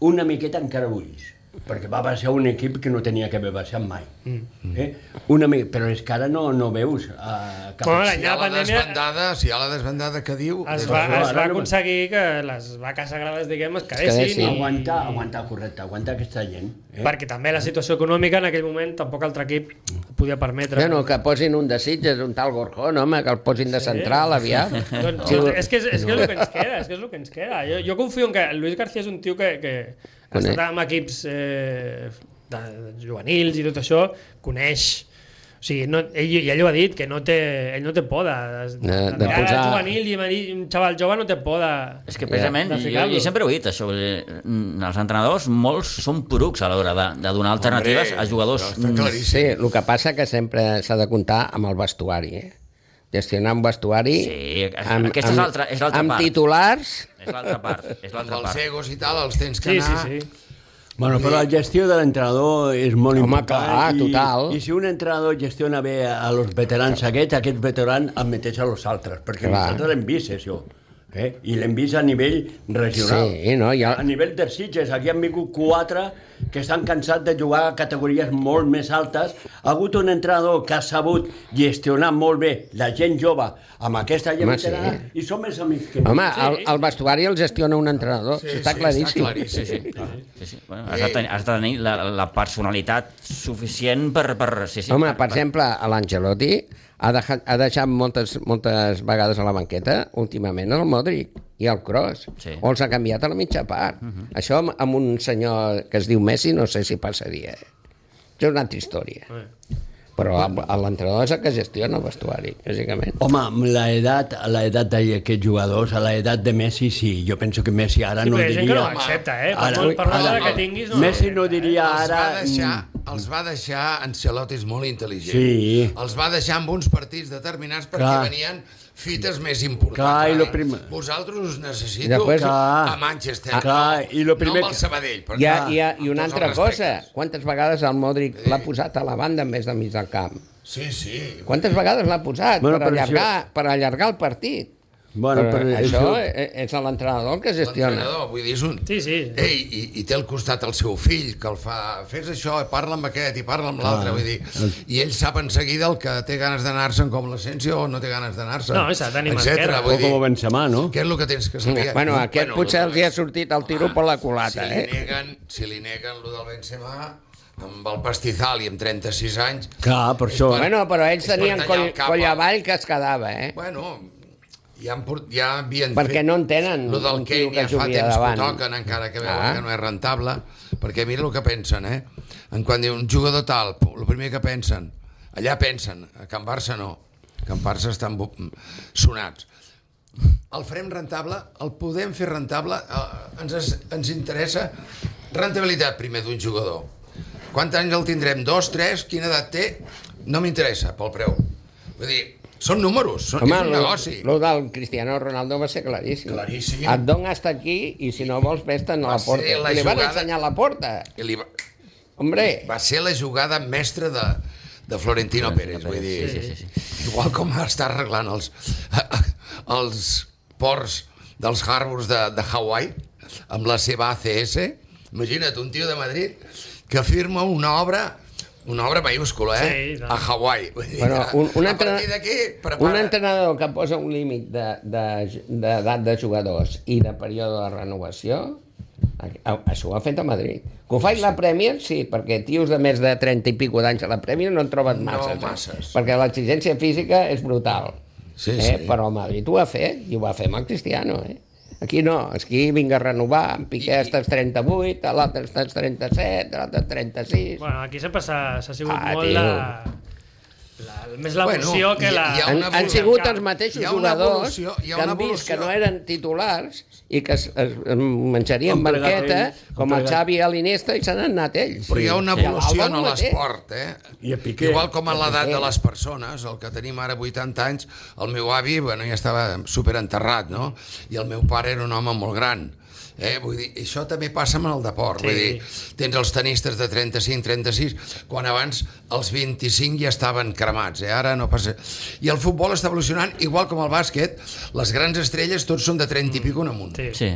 D: una miqueta encara ulls, perquè va baixar un equip que no tenia que haver baixat mai.
E: Mm.
D: Eh? Una mi... Però és que ara no, no veus uh, cap...
E: Però
C: Si
E: l'any
C: hi
E: de
C: ha
E: la
C: la
E: pandèmia
C: desbandada, si hi ha la desbandada que diu...
E: es
C: doncs
E: va,
D: Però
E: es va
D: ara no-
E: aconseguir que les vaques sagrades, diguem, es
F: quedessin.
E: quedessin. i-
D: Aguantar, aguantar, correcte, aguantar aquesta gent. Eh?
E: Perquè també la situació econòmica en aquell moment tampoc l'altre equip podia permetre.
F: Bueno, que posin un de Sitges, un tal Gorjón, home, que el posin de central aviat.
E: Doncs,
F: Sí,
E: és, que és, és que és el que ens queda, és que és el que ens queda. Jo, jo confio en que el Luis García és un tio que, que ha
F: Coneix.
E: estat amb equips eh, de, de juvenils i tot això, coneix o sigui, no, ell, i ell ho ha dit, que no té, ell no té por de, de,
F: De- de
E: mirar el
F: posar-
E: juvenil i venir un xaval jove no té por de...
B: És que precisament,
E: De
B: jo,
E: ficar-lo.
B: jo sempre ho he dit, això, vull dir, mm, els entrenadors, molts són porucs a l'hora de, de donar alternatives a jugadors.
C: Però està
B: Mm,
C: claríssim.
F: Sí, el que passa que sempre s'ha de comptar amb el vestuari, eh? Gestionar un vestuari...
B: Sí, aquesta és l'altra- és l'altra
F: amb
B: part.
F: titulars...
B: És l'altra part, és
C: Amb
B: l'altra
C: els
B: part.
C: egos i tal, els tens que
E: Sí, sí,
C: anar...
E: sí.
D: Bueno, però la gestió de l'entrenador és molt
F: Home,
D: important.
F: clar, total.
D: I, I si un entrenador gestiona bé a los veterans aquests, aquest veteran el meteix a los altres, perquè
F: Clar.
D: clar. nosaltres l'hem vist, això. Eh? I l'hem vist a nivell regional.
F: Sí, no, hi ha-
D: A nivell de Sitges, aquí han vingut quatre que s'han cansat de jugar a categories molt més altes. Ha hagut un entrenador que ha sabut gestionar molt bé la gent jove amb aquesta gent
F: Home,
D: veterana
F: sí.
D: i són més amics que...
F: Home, el, el vestuari el gestiona un entrenador, sí, està claríssim.
C: Està
B: Sí,
C: claríssim.
B: sí. sí, sí. Bueno, has, de tenir, has de tenir la, la personalitat suficient per... per sí, sí,
F: Home, per exemple, l'Angelotti ha, deixat, ha deixat moltes, moltes vegades a la banqueta, últimament, el Modric i el Kroos,
B: Sí. Mhm.
F: o els ha canviat a la mitja part. Això amb, amb un senyor que es diu Messi no sé si passaria. eh? Això és una altra història. Però el- el- l'entrenador és el que gestiona el vestuari, lògicament.
D: Home, amb l'edat l'edat d'aquests jugadors, a l'edat de Messi, sí. Jo penso que Messi ara
E: Sí,
D: no
E: però hi
D: diria...
E: ha gent que no ho accepta, eh? Per molt- per molt que tinguis, no ho
D: Messi no
E: accepta, eh?
D: diria
C: Els
D: ara...
C: va deixar, els va deixar Ancelotti és molt intel·ligent.
D: Sí.
C: Els va deixar amb uns partits determinats perquè
D: Clar.
C: venien fites més importants.
D: Clar, i lo
C: Eh?
D: prim- ah,
C: Vosaltres us necessito
F: I després-
C: a Manchester.
D: Clar, i lo primer
C: No amb el
D: que-
C: Sabadell. Però
F: Hi ha,
C: clar,
F: hi ha, I una
C: tots els
F: altra cosa,
C: respectes.
F: quantes vegades el Modric l'ha posat a la banda en més de mig del camp?
C: Sí, sí.
F: Quantes vegades l'ha posat
D: Bueno,
F: bueno,
D: però
F: per, allargar, si... per allargar el partit?
D: Bueno,
F: però
D: però-
F: això eh, és l'entrenador el que gestiona.
C: L'entrenador, vull dir, és un...
E: Sí, sí.
C: Ei, i, i té al costat el seu fill, que el fa... Fes això, i parla amb aquest, i parla amb l'altre, vull dir... I ell sap en seguida el que té ganes d'anar-se'n com l'Asensio o no té ganes d'anar-se'n.
E: No, s'ha d'anim
C: etcètera,
E: esquerra.
D: O
C: vull dir,
D: eh, com a Benzema, no?
C: Què és el que tens que saber?
F: Bueno, aquest potser els hi ha sortit el tiro per la
C: Ah, si
F: culata,
C: li
F: eh?
C: neguen, si li neguen lo del Benzema, amb el pastizal i amb 36 anys...
D: Clar, per això. eh.
F: Bueno, però ells
C: Es pot
F: tenien
C: tallar
F: coll,
C: el cap,
F: coll
C: eh?
F: avall que es quedava, eh?
C: Bueno, ja, han port, ja havien
F: Perquè
C: fet
F: no en tenen
C: lo del
F: Mm. un tio
C: Kane
F: que
C: ja fa
F: jugui a
C: temps
F: davant.
C: que ho toquen, encara que veuen
F: Ah.
C: que no és rentable, perquè mira el que pensen, eh? En quan diu un jugador tal, pu- el primer que pensen, allà pensen, a Can Barça no, a Can Barça estan bu- mm, sonats. El farem rentable, el podem fer rentable, eh, ens, es- ens interessa rentabilitat primer d'un jugador. Quants anys el tindrem? Dos, tres? Quina edat té? No m'interessa pel preu. Vull dir, són números, són, és un
F: lo-
C: negoci.
F: lo del Cristiano Ronaldo va ser claríssim.
C: Claríssim.
F: Et dono hasta aquí i si no vols vés-te'n a
C: Va
F: la
C: ser
F: porta.
C: la
F: I Li van
C: jugada-
F: ensenyar la porta.
C: I li va...
F: Hombre,
C: va ser la jugada mestra de, de Florentino Pérez, vull dir,
B: Sí, sí, sí.
C: igual com està arreglant els, els ports dels harbors de, de Hawaii amb la seva ACS, imagina't, un tio de Madrid que firma una obra una obra mayúscula, eh?
E: Sí, no.
C: a Hawaii. Vull dir,
F: Bueno, un, un,
C: a
F: entrenador,
C: partir d'aquí,
F: un
C: prepara...
F: entrenador que posa un límit d'edat de, d'edat de jugadors i de període de renovació, a- a- això ho ha fet a Madrid. Que ho faig la Premier, sí, perquè tios de més de 30 i pico d'anys a la Premier no en troben
C: No
F: masses.
C: masses.
F: Eh? Perquè l'exigència física és brutal.
C: Sí,
F: eh?
C: sí.
F: Però a Madrid ho ha fet, i ho va fer amb el Cristiano, eh? Aquí no, aquí vinc a renovar, en Piqué
C: I- i-
F: estàs 38, a l'altre estàs 37, a l'altre 36...
E: Bueno, aquí s'ha passat, s'ha sigut
F: Ah,
E: molt
F: tio.
E: la, la, més la
C: Bueno,
E: bueno,
C: hi
E: que
C: ha-
E: la...
C: hi ha
F: han,
C: una
F: han
C: evolució.
F: sigut els mateixos
C: Hi ha una
F: jugadors
C: evolució, hi ha
F: que han
C: una
F: vist que
C: evolució.
F: no eren titulars i que es, es es menjarien
D: Han plegat
F: banqueta,
D: ells, han
F: com el
D: plegat.
F: Xavi i l'Iniesta, i se n'han anat ells.
C: Però hi ha una evolució
F: Alba
C: en
F: el mateix.
C: l'esport, eh?
D: I a Piqué.
C: Igual com a l'edat
F: Piqué.
C: de les persones, el que tenim ara 80 anys, el meu avi, bueno, ja estava superenterrat, no? I el meu pare era un home molt gran. Eh? Vull dir, això també passa amb el deport.
E: Sí.
C: Sí. Vull dir, tens els tenistes de 35, 36, quan abans els 25 ja estaven cremats, eh? ara no passa... I el futbol està evolucionant, igual com el bàsquet, les grans estrelles tots són de 30 i pico en amunt.
E: Sí.
B: Sí.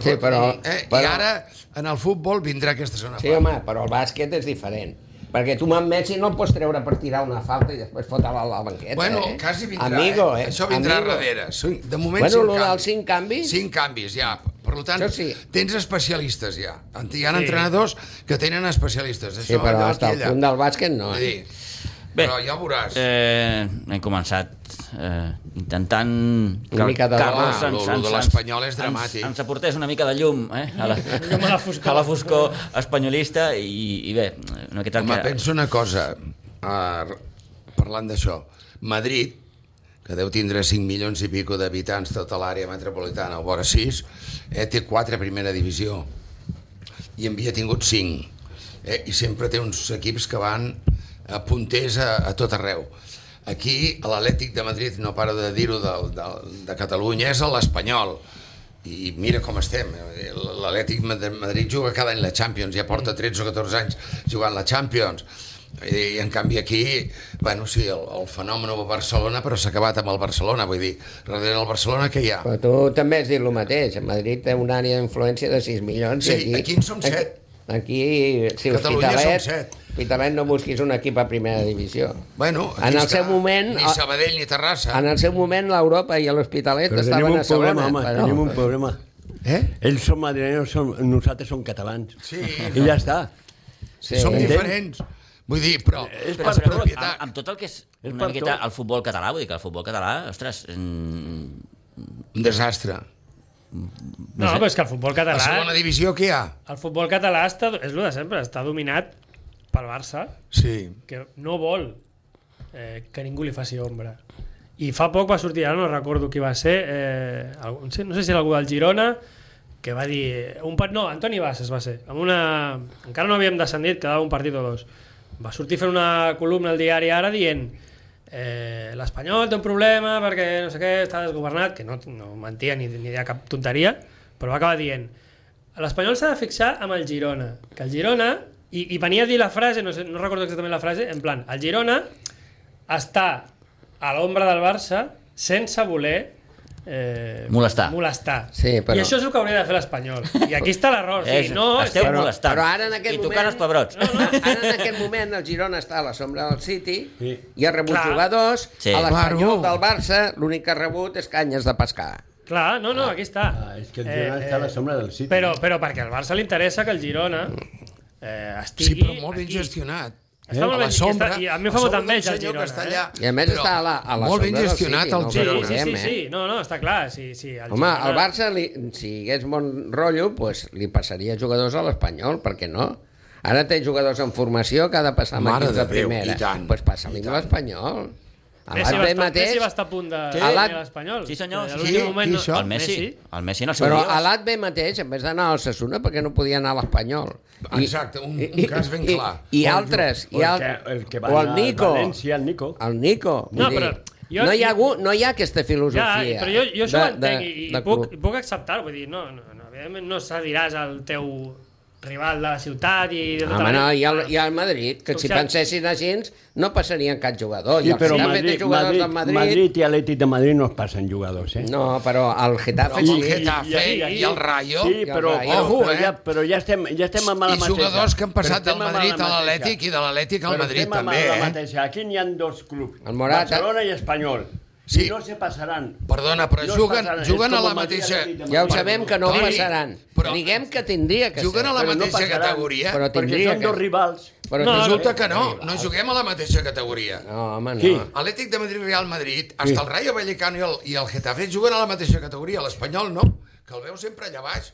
F: Sí, però,
C: eh?
F: però,
C: I ara, en el futbol, vindrà aquesta zona.
F: sí, home, però el bàsquet és diferent. Perquè tu amb Messi no el pots treure per tirar una falta i després fotre-la a la banqueta.
C: Bueno,
F: eh?
C: quasi vindrà.
F: Amigo, eh?
C: Això vindrà
F: Amigo.
C: darrere. Són- De moment,
F: Bueno,
C: cinc
F: lo dels
C: canvis.
F: cinc canvis...
C: Cinc canvis, ja. Per tant,
F: Això sí.
C: tens especialistes, ja. En- Hi ha
E: Sí.
C: entrenadors que tenen especialistes. Això,
F: Sí, però
C: allò,
F: fins al
C: aquí, allà.
F: punt del bàsquet no.
C: Vull
F: Eh?
C: dir,
B: Bé.
C: Però ja ho veuràs.
B: Eh, hem començat eh, intentant
F: Una mica de
C: Ah, lo- lo de l'Espanyol és dramàtic.
B: ens, ens aportés una mica de llum eh, a, la,
E: Llum a la foscor.
B: a la foscor espanyolista i, i bé, una miqueta
C: Home,
B: que...
C: penso una cosa, uh, parlant d'això. Madrid, que deu tindre 5 milions i pico d'habitants tota l'àrea metropolitana, o vora 6, eh, té 4 a primera divisió i en havia tingut 5. Eh, I sempre té uns equips que van a punters a, a tot arreu. Aquí, a l'Atlètic de Madrid, no para de dir-ho, de, de, de Catalunya, és a l'Espanyol. I mira com estem. eh, L'Atlètic de Madrid juga cada any la Champions, ja porta 13 o 14 anys jugant la Champions. I, en canvi aquí, bueno, sí, el, el fenomen va a Barcelona, però s'ha acabat amb el Barcelona, vull dir, darrere el Barcelona què hi ha?
F: Però tu també has dit el mateix. A Madrid té una àrea d'influència de 6 milions. i
C: Sí, aquí en som set.
F: Aquí, si
C: Catalunya som
F: Hospitalet,
C: set.
F: Hospitalet no busquis un equip a primera divisió.
C: Bueno, aquí
F: en el
C: està.
F: seu moment,
C: Ni Sabadell ni Terrassa.
F: en el seu moment, l'Europa i l'Hospitalet
D: Però tenim
F: estaven
D: un
F: a segona.
D: problema, home,
F: però-
D: tenim un problema.
C: Eh?
D: Ells són madrilenyos, som, nosaltres som catalans.
C: Sí.
D: I ja està.
F: Sí.
C: Som
D: Entén?
C: diferents. Vull dir, però...
B: Eh,
D: És
C: però
D: per
C: és
D: tot,
C: propietat.
B: amb, amb tot el que és
D: És
B: una
D: per
B: miqueta
D: tot.
B: el futbol català, vull dir que el futbol català, ostres, mm,
C: Un desastre.
E: No, però és que el futbol
C: A
E: català...
C: segona divisió què hi ha?
E: El futbol català està, és el de sempre, està dominat pel Barça,
C: Sí.
E: que no vol eh, que ningú li faci ombra. I fa poc va sortir, ara no recordo qui va ser, eh, algú, no sé- no sé si era algú del Girona, que va dir... eh, Un part, no, Antoni Bassas va ser. Amb una, encara no havíem descendit, quedava un partit o dos. Va sortir fent una columna al diari ara dient eh, l'Espanyol té un problema perquè no sé què, està desgovernat, que no, no mentia ni, ni de cap tonteria, però va acabar dient l'Espanyol s'ha de fixar amb el Girona, que el Girona, i, i venia a dir la frase, no, sé, no recordo exactament la frase, en plan, el Girona està a l'ombra del Barça sense voler eh,
B: Molestar.
E: molestar.
F: Sí, però-
E: I això és el que hauria de fer l'Espanyol. I aquí està l'error.
B: És-
E: Sí, no,
B: esteu
E: és-
B: molestant.
F: Però ara en aquest
B: I
F: moment...
B: tocant els pebrots.
F: No, no, ara en aquest moment el Girona està a la sombra del City
D: Sí.
F: i ha rebut
E: Clar.
F: jugadors.
B: Sí.
F: A l'Espanyol
C: Claro.
F: del Barça l'únic que ha rebut és canyes de pescar.
E: Clar, no, no, aquí està. Eh,
D: Ah, és que el Girona està a la sombra del City.
E: Però, però perquè al Barça li interessa que el Girona eh, estigui
C: Sí, però molt ben
E: aquí.
C: gestionat. eh?
E: Està
C: a
E: molt
C: la
E: ben-
C: sombra,
E: està- i a mi em
C: a
E: fa
C: sobre
E: molta
C: d'un
E: enveja el
C: senyor
E: Girona,
C: que està allà.
F: eh? I a més
C: Però
F: està a la- a la
C: Molt ben
F: sombra del
C: gestionat
F: City,
C: el eh?
F: no?
E: Sí,
F: Però
E: sí,
C: Girona.
E: sí,
F: anem,
E: sí,
B: eh.
E: no, no, està clar. Sí, sí, el
F: Home,
E: Girona-
F: al Barça, li, si hi hagués bon rotllo, pues, li passaria jugadors a l'Espanyol, per què no? Ara té jugadors en formació que ha de passar amb
C: Mare
F: equips
C: de
F: de
C: Déu,
F: primera.
C: i tant,
F: pues passa-li
C: i
F: amb
C: tant.
F: l'Espanyol.
E: Messi
F: Abans
E: va,
F: d'ell
E: estar,
F: mateix...
E: Messi va estar a punt de
C: Sí.
E: sí.
F: Alat-
E: l'Espanyol.
B: Sí, senyor.
E: A
B: Sí,
E: l'últim
C: sí,
E: moment,
C: sí, això.
B: El Messi, el Messi en el seu
F: Però
B: dia.
F: a l'ATB mateix, en vez d'anar al Sassuna, perquè no podia anar a l'Espanyol. I-
C: Exacte, un- un cas ben clar.
F: I, i altres.
D: O
F: I
D: el
F: al...
D: que- el que va
F: o el
D: anar al
F: Nico.
D: València, el Nico.
F: El Nico.
E: No,
F: vull dir,
E: però jo-
F: no, hi ha hagut, no hi ha aquesta
E: Ja,
F: filosofia.
E: però jo, jo això
F: de-
E: ho entenc i,
F: de
E: i puc,
F: club.
E: i puc acceptar-ho. Vull dir, no, no, no, evidentment no cediràs al teu rival de la ciutat i... De tota
F: Home, no,
E: la-
F: i al, i al Madrid, que si
E: Social.
F: pensessin així, no passarien cap jugador. I
D: Sí,
F: el
D: però
F: Getafe té
D: Madrid,
F: jugadors
D: Madrid,
F: del
D: Madrid,
F: Madrid.
D: i Atlètic de Madrid no es passen jugadors, eh?
F: No, però el Getafe...
C: Però amb el
F: sí.
C: Getafe
E: i- i-
C: i el Rayo...
D: Sí, però,
F: Ja,
D: però,
C: ojo,
D: però,
C: eh?
D: ja, però ja estem, ja estem amb la
C: I
D: mateixa.
C: jugadors que han passat
D: Però
C: del
D: estem amb
C: Madrid
D: la
C: a
D: mateixa.
C: l'Atlètic i de l'Àtlètic al
D: Però
C: Madrid
D: estem amb
C: també,
D: la
C: eh?
D: mateixa. Aquí n'hi ha dos clubs,
F: El Morata.
D: Barcelona i Espanyol.
C: Sí.
D: I no se passaran.
C: Perdona, però
D: No es
C: juguen-
D: passaran.
C: juguen
D: És
C: a
D: com
C: la
D: el Madrid i
C: mateixa-
D: l'Atlètic de
F: Ja ho
D: Madrid.
F: sabem que no
C: Toni,
F: passaran.
C: però-
F: Diguem que tindria que
C: Juguen a
F: ser.
C: la
D: Però no
C: mateixa
D: passaran.
C: categoria?
F: Però
D: Perquè
F: tindria
D: són dos
F: que...
D: rivals.
E: No,
F: Però tindria-
C: Resulta que no, no juguem a la mateixa categoria.
F: No, home, no.
D: Qui?
C: Atlètic de Madrid, Real Madrid, hasta el Rayo Vallecano i el, i el Getafe juguen a la mateixa categoria, l'Espanyol no, que el veu sempre allà baix.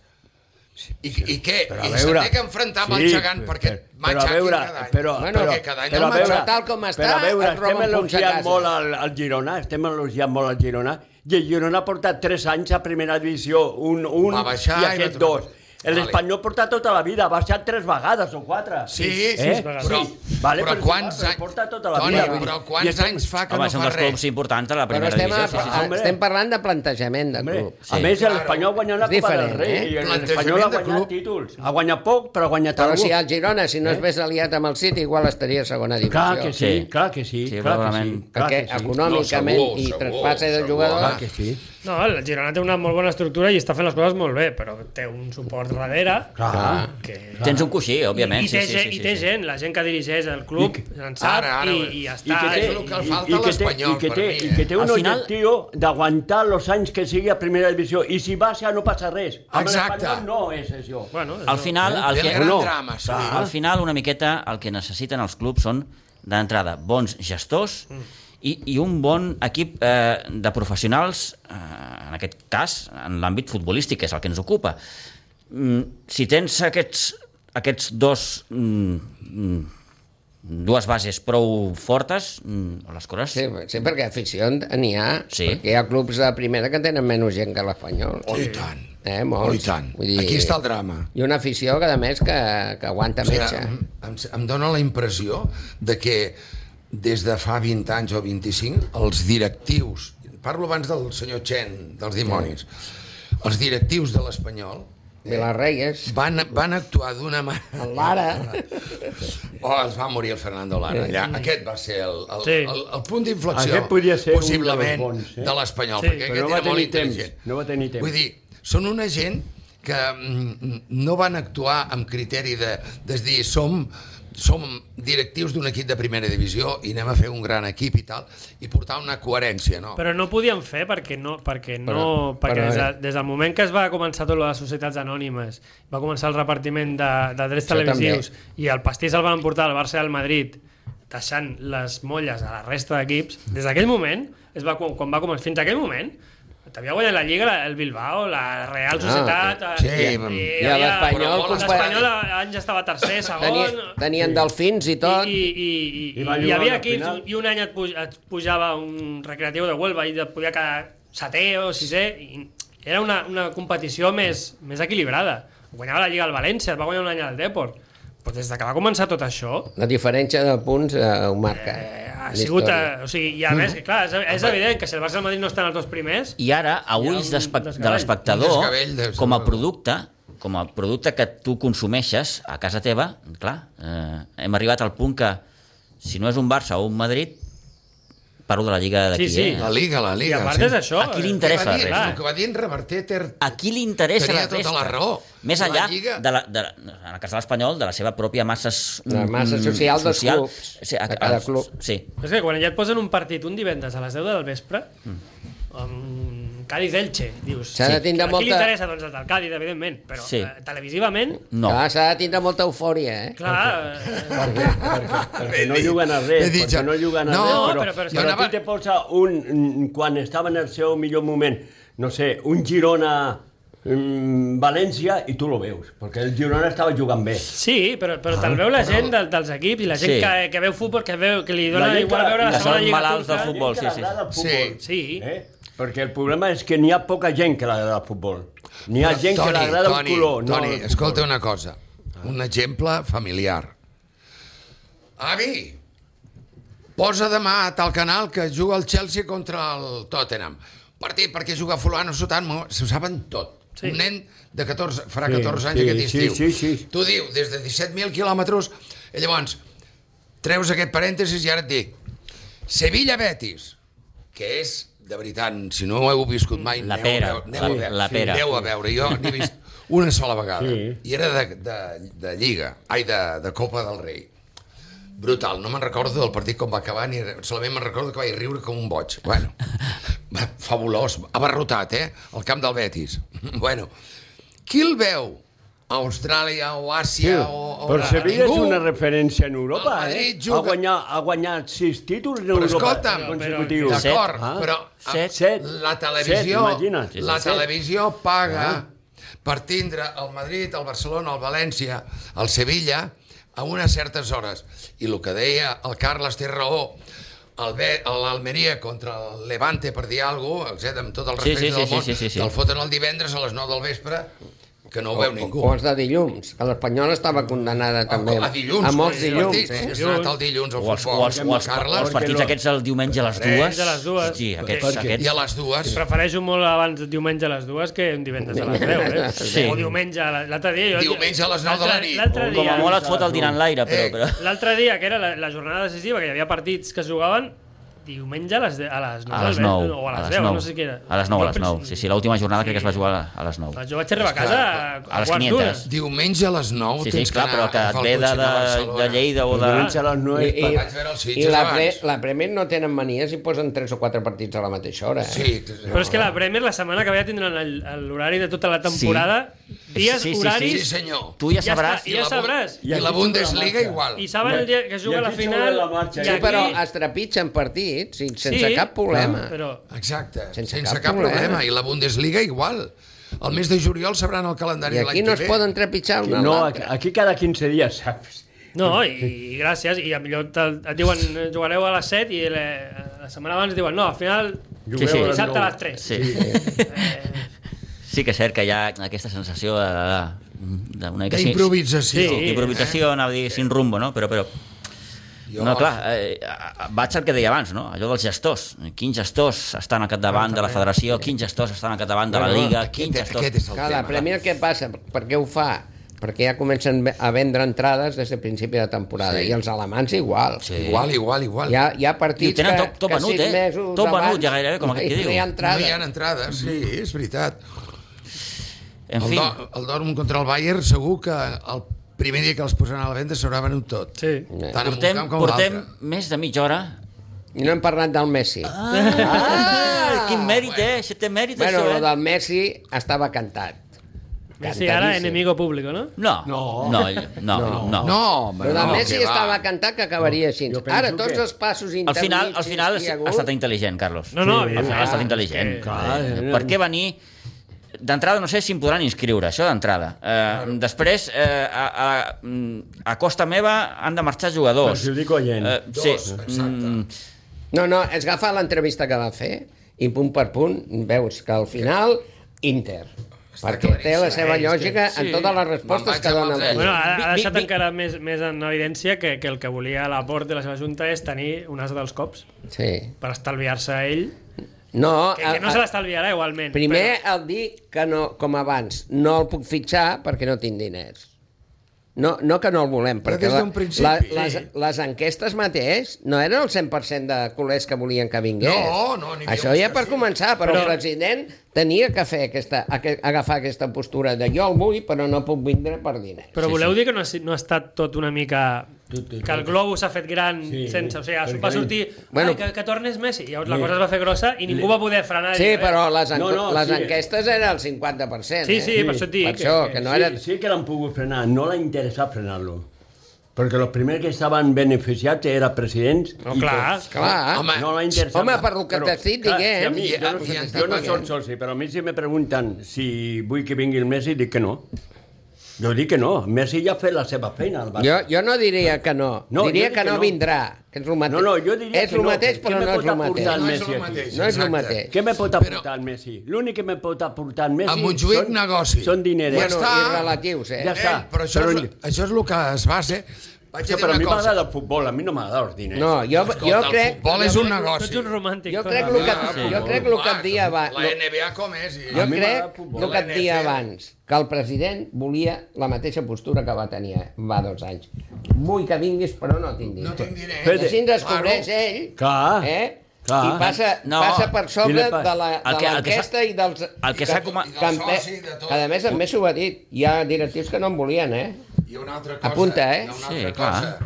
C: I, i què?
D: Però
C: I s'ha de que enfrontar amb el gegant perquè matxaqui cada any.
D: Però,
F: Bueno,
D: però,
C: perquè cada any el
F: però a veure-
C: matxaquen.
F: tal com està,
D: però a veure,
F: et roben
D: estem
F: punts a
D: elogiant
F: casa.
D: molt al, al Girona, estem elogiant molt al Girona, i el Girona porta 3 anys a primera divisió, un, un
C: Va baixar
D: i
C: i
D: aquest
C: va tornar.
D: dos. L'Espanyol porta tota la vida, ha baixat 3 vegades o 4.
C: Sí, sí,
D: eh?
E: vegades.
C: però,
D: Sí. Vale,
C: però,
D: però
C: quants
D: sí, va, però
C: anys...
D: porta tota la
C: Toni,
D: vida.
C: però
D: I
C: quants
D: estem-
C: anys fa que
B: Home,
C: no
B: són
C: fa
B: dels
C: res?
B: clubs importants de la
F: Però
B: primera
F: estem, a,
B: divisió. Sí, sí,
F: a-
B: sí.
D: Hombre.
F: estem parlant de plantejament de
D: Hombre,
F: club.
D: a
B: Sí.
D: més,
C: Claro.
D: l'Espanyol ha guanyat la
F: És
D: Copa del
F: diferent,
D: Rei
F: eh?
D: i l'Espanyol
C: Plantejament
D: ha
C: de
D: guanyat
C: club.
D: títols. Ha guanyat poc, però ha guanyat
F: Però
D: algú.
F: si el Girona, si no es vés aliat amb el City, igual estaria a segona divisió.
D: Clar que sí,
B: Sí.
D: clar que
B: Sí,
D: sí, clar que sí.
B: probablement.
D: Clar
F: Perquè
D: que sí.
F: econòmicament
C: No, segur,
F: i
C: segur,
F: traspasse de
C: segur.
F: jugadors...
D: Clar que sí.
E: No, el Girona té una molt bona estructura i està fent les coses molt bé, però té un suport darrere
D: Clar.
E: que...
B: Tens un coixí, òbviament.
E: I, té,
B: sí, sí,
E: gent,
B: sí,
E: I té
B: sí.
E: gent, la gent que dirigeix el club, en sap,
C: Ara, ara,
E: i, i ja està.
C: que té- Ah,
E: i-
C: és el que
E: i-
C: falta
D: i que té-
C: l'Espanyol,
D: i que
C: per
D: té,
C: mi,
D: I
C: eh?
D: que té un
B: Al final-
D: objectiu d'aguantar els anys que sigui a primera divisió. I si baixa no passa res. Amb
C: Exacte.
D: l'Espanyol no és això.
E: Bueno,
B: Al final, el
C: Té
B: que,
C: el gran
D: No.
C: drama, sí.
D: Clar.
B: al final, una miqueta, el que necessiten els clubs són, d'entrada, bons gestors i, i un bon equip eh, de professionals, eh, en aquest cas, en l'àmbit futbolístic, que és el que ens ocupa. Mm, si tens aquests, aquests dos... Mm, mm, dues bases prou fortes, mm, les coses...
F: Sí, sí, perquè afició n'hi ha,
B: Sí.
F: perquè hi ha clubs de primera que tenen menys gent que l'Espanyol.
C: Oh, i tant.
F: Eh,
C: Oh,
F: molts.
C: i tant. Aquí està el drama.
F: I una afició que, a més, que, que aguanta
C: O mm. sigui,
F: metge.
C: em, em, em dóna la impressió de que des de fa 20 anys o 25 els directius, parlo abans del senyor Chen, dels dimonis, els directius de l'Espanyol
F: Vilarreyes,
C: van, van actuar d'una manera...
F: el Lara...
C: Oh, es va morir el Fernando Lara allà. Aquest va ser el, el,
E: Sí.
C: el, el punt d'inflexió,
D: Aquest podria ser un
C: possiblement,
D: dels bons, eh?
C: de l'Espanyol,
E: Sí,
C: perquè
D: però
C: aquest
D: no va
C: era molt
D: tenir temps,
C: intel·ligent.
D: no va tenir temps.
C: Vull dir, són una gent que mm, no van actuar amb criteri de, de dir som, som directius d'un equip de primera divisió i anem a fer un gran equip i tal, i portar una coherència, no?
E: Però no podien fer perquè no, perquè no,
F: Però-
E: perquè
F: però,
E: des,
F: eh.
E: de, des del moment que es va començar tot lo de les societats anònimes, va començar el repartiment de, de drets
F: Això
E: televisius i el pastís el van portar al Barça i al Madrid deixant les molles a la resta d'equips, des d'aquell moment, es va, quan, quan va començar, fins aquell moment, t'havia guanyat la Lliga la- el Bilbao, la Real Societat...
C: Ah, sí,
E: eh,
C: i
E: havia-
F: l'Espanyol,
E: però L'Espanyol eh, anys estava tercer, segon...
F: Tenien, tenien delfins i tot.
E: I, i, i,
D: I va
E: i, i hi
D: jugar
E: havia
D: una
E: equips,
D: final.
E: i un any et, puj, et pujava un recreatiu de Huelva i et podia quedar setè o sisè, i era una, una competició més, més equilibrada. Guanyava la Lliga al València, et va guanyar un any al Deport. Però des de que va començar tot això,
F: La diferència de punts eh, ho marca.
E: eh,
F: la
E: ha sigut...
F: història.
E: Eh, o sigui, i a més, clar, és, és evident que si el Barça i el Madrid no estan els dos primers,
B: I ara, a
E: Hi ha
B: ulls
E: un
B: d'espe- de
E: desgavell.
C: Un
B: l'espectador,
C: desgavell, des
B: com a
C: de-
B: producte, com a producte que tu consumeixes a casa teva, clar, eh, hem arribat al punt que si no és un Barça o un Madrid, Parlo de la Lliga d'aquí,
E: Sí, sí.
B: eh?
C: La Liga, la Liga.
E: I a part és això.
B: A qui li
E: eh,
B: interessa
C: Què va dir?
B: res,
E: clar.
C: El que va dir en Reverter Ter...
B: A qui li interessa
C: Tenia
B: la
C: tota
B: resta?
C: la raó.
B: Més
C: La
B: enllà,
C: Lliga-
B: de la, de, la- en el cas de l'Espanyol, de la seva pròpia massa... s- mm,
F: La massa social dels clubs,
B: Sí,
F: de cada club.
B: Sí,
E: És que quan ja et posen un partit un divendres a les 10 del vespre,
B: Mm.
E: amb Cádiz-Elche, dius...
F: S'ha de tindre
E: a
F: molta-
E: qui li interessa, doncs, el del Cádiz, evidentment, però
B: Sí.
E: sí. eh, televisivament,
B: no.
F: Clar, S'ha de tindre molta eufòria, eh?
E: clar... Eh,
D: Perquè, perquè, perquè no
C: dit,
D: juguen a
C: he
D: res,
C: dit ja.
D: perquè no juguen a
C: No,
D: res, però,
E: però- però és
D: però,
E: que-
D: a tu te posa un... Quan estava en el seu millor moment, no sé, un Girona mm, València i tu lo veus, perquè el Girona estava jugant bé.
E: sí, però, però te'l veu la gent del, dels equips i la gent
B: Sí.
E: sí. que, que veu futbol, que, veu, que li dona
D: gent
E: igual
D: que-
E: veure
D: que
E: la segona
B: són
E: lliga
B: malalts del
E: turca.
B: futbol. sí,
D: La
B: sí.
D: gent que l'agrada el futbol.
C: Sí.
E: Sí,
D: Eh? Perquè el problema és que n'hi ha poca gent que l'agrada el futbol. N'hi ha gent que l'agrada el color. no
C: Toni,
D: el futbol.
C: escolta una cosa. Un exemple familiar. Avi, posa demà a tal canal que juga el Chelsea contra el Tottenham. Partit perquè juga fulano, sotano, s'ho saben tot. Sí.
E: Sí.
C: Un nen de 14, farà
D: Sí,
C: 14 anys
D: sí,
C: aquest
D: sí,
C: estiu.
D: sí, sí.
C: Tu diu, des de 17.000 quilòmetres, i llavors, treus aquest parèntesis i ara et dic, Sevilla-Betis, que és, de veritat, si no ho heu viscut mai,
B: La
C: aneu a
B: pera,
C: veure- aneu
B: la-
C: a veure,
B: la pera.
C: Aneu a veure, jo n'he vist una sola vegada,
D: Sí.
C: i era de, de, de Lliga, ai, de, de Copa del Rei. Brutal, no me'n recordo del partit com va acabar, ni re- solament me'n recordo que vaig riure com un boig. Bueno, va, fabulós, abarrotat, eh? El camp del Betis. Bueno, qui el veu? A Austràlia o
D: Sí,
C: Àsia o... o
D: però
C: a
D: Sevilla és
C: ningú?
D: una referència en
C: El
D: Europa, eh?
C: Madrid juga-
D: Ha guanyat, ha guanyat sis títols en
C: Però
D: Europa eh,
C: escolta'm,
D: consecutius.
B: Set.
C: D'acord,
D: Ah.
C: però ah,
B: Set.
D: Set.
C: la televisió,
D: Set, imagina't. Sí, sí,
C: la
D: set.
C: televisió paga
B: Ah.
C: per tindre el Madrid, el Barcelona, el València, el Sevilla a unes certes hores. I el que deia el Carles té raó, el Be- l'Almeria contra el Levante per dir alguna cosa, etc., amb tot el
B: Sí,
C: respecte
B: sí, sí,
C: del món,
B: sí, sí, sí, sí.
C: te'l foten el divendres a les 9 del vespre que no ho veu ningú.
F: O els de dilluns, que l'Espanyol estava condemnada també.
C: a dilluns,
F: A molts
C: els
F: dilluns,
C: partits,
F: eh?
C: És anat el dilluns al
B: O els,
C: futbol.
B: o els, o els,
C: Carles,
B: els partits
D: no?
B: aquests el diumenge a les
C: Res.
B: dues.
E: Diumenge a les dues.
B: Sí, aquests,
E: Perquè-
C: I
B: aquests...
C: a les dues...
E: Prefereixo molt abans diumenge a les dues que un divendres a les 10, eh?
B: Sí.
E: O diumenge, a la- l'altre dia... Jo,
C: Diumenge a les nou de la
E: l'altre-
C: nit.
E: L'altre
B: Com
E: dia,
B: a molt et fot el dinar en l'aire, però...
C: Eh.
B: però...
E: l'altre dia, que era la, la jornada decisiva, que hi havia partits que es jugaven, diumenge a les, de- a les 9,
B: A les
E: del vespre,
B: 9.
E: o a les 10, no sé què era.
B: A les 9, a les
E: Jo
B: 9.
E: penso-
B: Sí, sí, l'última jornada crec que es va jugar a les 9.
E: Jo vaig arribar a casa a,
B: A les
E: quarts
B: 500.
E: d'una.
C: Diumenge a les 9
B: Sí, sí,
C: tens
B: clar,
C: que
B: però
C: anar
B: que
C: a
B: et
C: agafar
B: ve
C: el
B: de,
C: cotxe
B: de,
C: a Barcelona. Doncs
B: de Lleida o de...
D: Comença a les
F: I,
D: nueve.
F: i,
C: Vaig veure els Sitges
F: i la, pre,
C: abans.
F: la Premier no tenen manies i posen 3 o 4 partits a la mateixa hora. Eh?
C: Sí,
E: Però és que la Premier la setmana que ve ja tindran el- el- l'horari de tota la temporada, dies,
B: Sí, sí, sí,
C: Sí,
E: horaris,
C: senyor.
B: Tu ja
E: Ja
B: sabràs...
E: està, i ja
C: la Bu-
E: sabràs.
C: I la Bundesliga igual.
E: i saben el dia que juga
D: I
E: la
D: aquí
E: final...
D: sobre la marxa,
E: i
D: eh?
F: Sí,
E: aquí-
F: però es trepitgen partits i sense sí, cap
E: clar,
F: problema.
E: Però,
C: Exacte, sense,
F: Sense
C: sense cap,
F: cap
C: problema.
F: problema.
C: I la Bundesliga igual. El mes de juliol sabran el calendari
F: I
C: de l'any
F: aquí
C: que
F: no es
C: ve.
F: poden trepitjar
D: No,
F: una no,
D: aquí, aquí cada 15 dies, saps?
E: No, i, i gràcies, i a millor te, et diuen eh, jugareu a les 7 i la, la setmana abans diuen no, al final
B: Sí, sí.
E: dissabte a les 3.
B: Sí. sí que és cert que hi ha aquesta sensació de... de, de una mica... sí,
C: D'improvisació.
E: Sí.
B: Improvisació, anava a dir, sin rumbo, no? Però, però...
C: Jo-
B: No, clar, eh, eh, vaig al que deia abans, no? Allò dels gestors. Quins gestors estan al capdavant de la federació, quins gestors estan al capdavant de la Liga, quins
C: Aquest,
B: gestors...
C: aquest és el
F: Clar, la
C: tema.
F: Premier què passa? Per què ho fa? Perquè ja comencen a vendre entrades des de principi de temporada.
C: Sí.
F: I els alemans igual.
B: Sí.
C: Igual, igual, igual.
F: Hi ha, hi ha
B: I ho
F: partits
B: tenen
F: que,
B: tot- tot
F: que
B: venut,
F: sis
B: eh?
F: mesos
B: Tot venut,
F: abans
B: ja gairebé, com aquest que
F: no
B: diu.
F: hi ha
C: no
F: entrada.
C: hi ha entrades, sí, és veritat.
B: En
C: el,
B: fi,
C: Do, el Dortmund contra el Bayern segur que el primer dia que els posaran a la venda s'haurà venut tot.
E: Sí.
F: Eh.
C: Tant en un
B: portem,
C: camp com
B: portem
C: l'altre.
B: més de mitja hora.
F: I no hem parlat del Messi. Ah,
B: Ah, quin mèrit, eh? Això té mèrit,
F: bueno,
B: això,
F: el
B: eh?
F: del Messi estava cantat.
E: Messi ara
F: Cantadíssim.
E: enemigo público, no?
B: No, no, no, no, no.
C: No, home,
F: Oh. Però de
C: no,
F: Messi
C: que va.
F: estava cantat que acabaria així.
D: jo penso
F: Ara, tots
D: que-
F: els passos
B: Al
F: intermits
B: final, al final
F: que hi
B: ha,
F: hagut,
B: estat intel·ligent, Carlos.
E: No, no,
B: al final ha estat
E: clar,
B: intel·ligent.
E: és que-
D: Clar,
B: Eh,
D: eh.
B: per què venir... D'entrada, no sé si em podran inscriure, això d'entrada. Eh, després, eh, a, a, mm, a costa meva han de marxar jugadors. Eh,
D: Perjudico a gent.
C: Dos, exacte.
B: mm,
F: No, no, es agafa l'entrevista que va fer i punt per punt veus que al final Inter.
C: Està
F: perquè té
C: claríssim.
F: la
C: eh?
F: seva lògica en
B: sí.
F: totes les
C: Me'n
F: respostes
C: vaig
F: que
C: amb
F: dona.
C: els
F: el
C: ells.
E: Bueno,
F: Messi.
E: ha,
B: Vi-
E: ha
B: vi-
E: deixat
B: vi-
E: encara més, més en evidència que, que el que volia la port de la seva junta és tenir un as dels cops
F: Sí.
E: per estalviar-se a ell,
F: No,
E: que, que no
F: a-
E: se l'estalviarà igualment.
F: primer el dir que no, com abans, no el puc fitxar perquè no tinc diners. No, no que no el volem,
C: Però
F: perquè
C: des
F: la,
C: d'un principi,
F: la,
C: sí.
F: les, les enquestes mateix no eren el 100% de culers que volien que vingués.
C: No, no, n'hi havia
F: Això
C: uns
F: ja
C: que
F: per
C: sí.
F: començar, però,
E: Però-
F: però el president tenia que fer aquesta, aque- agafar aquesta postura de jo el vull, però no puc vindre per diners.
E: Però voleu dir que no ha, si- no ha estat tot una mica...
D: Tot, tot,
E: Que el globus s'ha fet gran
D: Sí,
E: sense... O sigui,
D: perquè
E: va
D: ell-
E: sortir...
F: Bueno.
E: Ai, que, que tornes Messi. Llavors la
D: Sí.
E: cosa es va fer grossa i ningú va poder frenar. i
F: Sí,
E: dir, "Eh,
F: però les, enco
D: No, no,
F: les
D: sí.
F: enquestes eren el 50%.
E: Sí,
F: eh?
E: sí, per això et dic
F: Per
E: que-
F: això, que no
D: sí,
F: era...
D: sí que l'han pogut frenar, no l'ha interessat frenar-lo. Perquè els primers que estaven beneficiats eren presidents
E: No,
D: i
E: clar,
D: tots.
F: Clar,
C: Home,
D: no l'ha interessat.
F: home, per lo que t'has dit,
D: clar,
F: diguem.
D: i a mi,
C: I-
D: jo, no,
C: i-
D: soc- jo no
C: i-
D: soc soci, però a mi si me pregunten si vull que vingui el Messi, dic que no. Jo dic que no. Messi ja ha fet la seva feina al
F: Jo,
D: Barça.
F: jo no diria que no.
D: No,
F: no
D: jo
F: diria
D: dic
F: que
D: que
F: no,
D: no.
F: vindrà. Que és el mateix.
D: No, no, jo diria
F: és
D: que no,
F: el mateix,
D: que-
F: però
D: que
F: no
D: me
F: és el
D: pot
F: mateix.
D: aportar el
C: No és el
D: Messi aquí.
C: mateix,
F: No és el
C: exacte.
F: mateix.
D: Què me pot
C: Però-
D: aportar el Messi? L'únic que me pot aportar el Messi...
C: A Montjuïc,
D: són-
C: negoci.
D: Són dinerets.
C: Ja
F: Bueno,
C: està.
F: i relatius, eh?
D: Ja
C: Eh,
D: està.
C: però això,
D: Però-
C: és, això és el que es basa. Vaig
D: Hòstia,
C: a dir
D: però a
C: una
D: mi
C: cosa.
D: m'agrada el futbol, a mi no m'agrada els diners.
F: No, jo, jo
C: Escolta,
F: crec...
C: El futbol és un
E: Tu ets
C: negoci.
E: un romàntic.
F: Jo
E: tot.
F: crec lo que,
C: Ah,
F: jo
C: futbol.
F: crec lo que
C: Ah,
F: et dia abans...
C: La NBA com és? I...
F: Jo
D: mi m'agrada el
F: crec
D: futbol.
F: el que et dia
C: La NFL.
F: abans, que el president volia la mateixa postura que va tenir eh, va dos anys. Vull que vinguis, però no tinc
C: No
F: diners.
C: tinc diners.
F: I així ens
C: Claro.
F: descobreix ell,
D: Clar,
F: eh?
D: clar.
F: I passa,
B: No.
F: passa per
D: I
F: sobre
D: li pa-
F: de la-
B: el
F: de
B: que- el que
F: l'enquesta i dels...
B: el que s'ha coma-
F: que em pe-
C: soci, de tot.
F: que a més, a més s'ho va dir. Hi ha directius que no en volien, eh?
C: Hi ha una altra cosa.
F: Apunta, eh?
C: Hi ha una
B: Sí,
C: altra
B: clar.
C: cosa,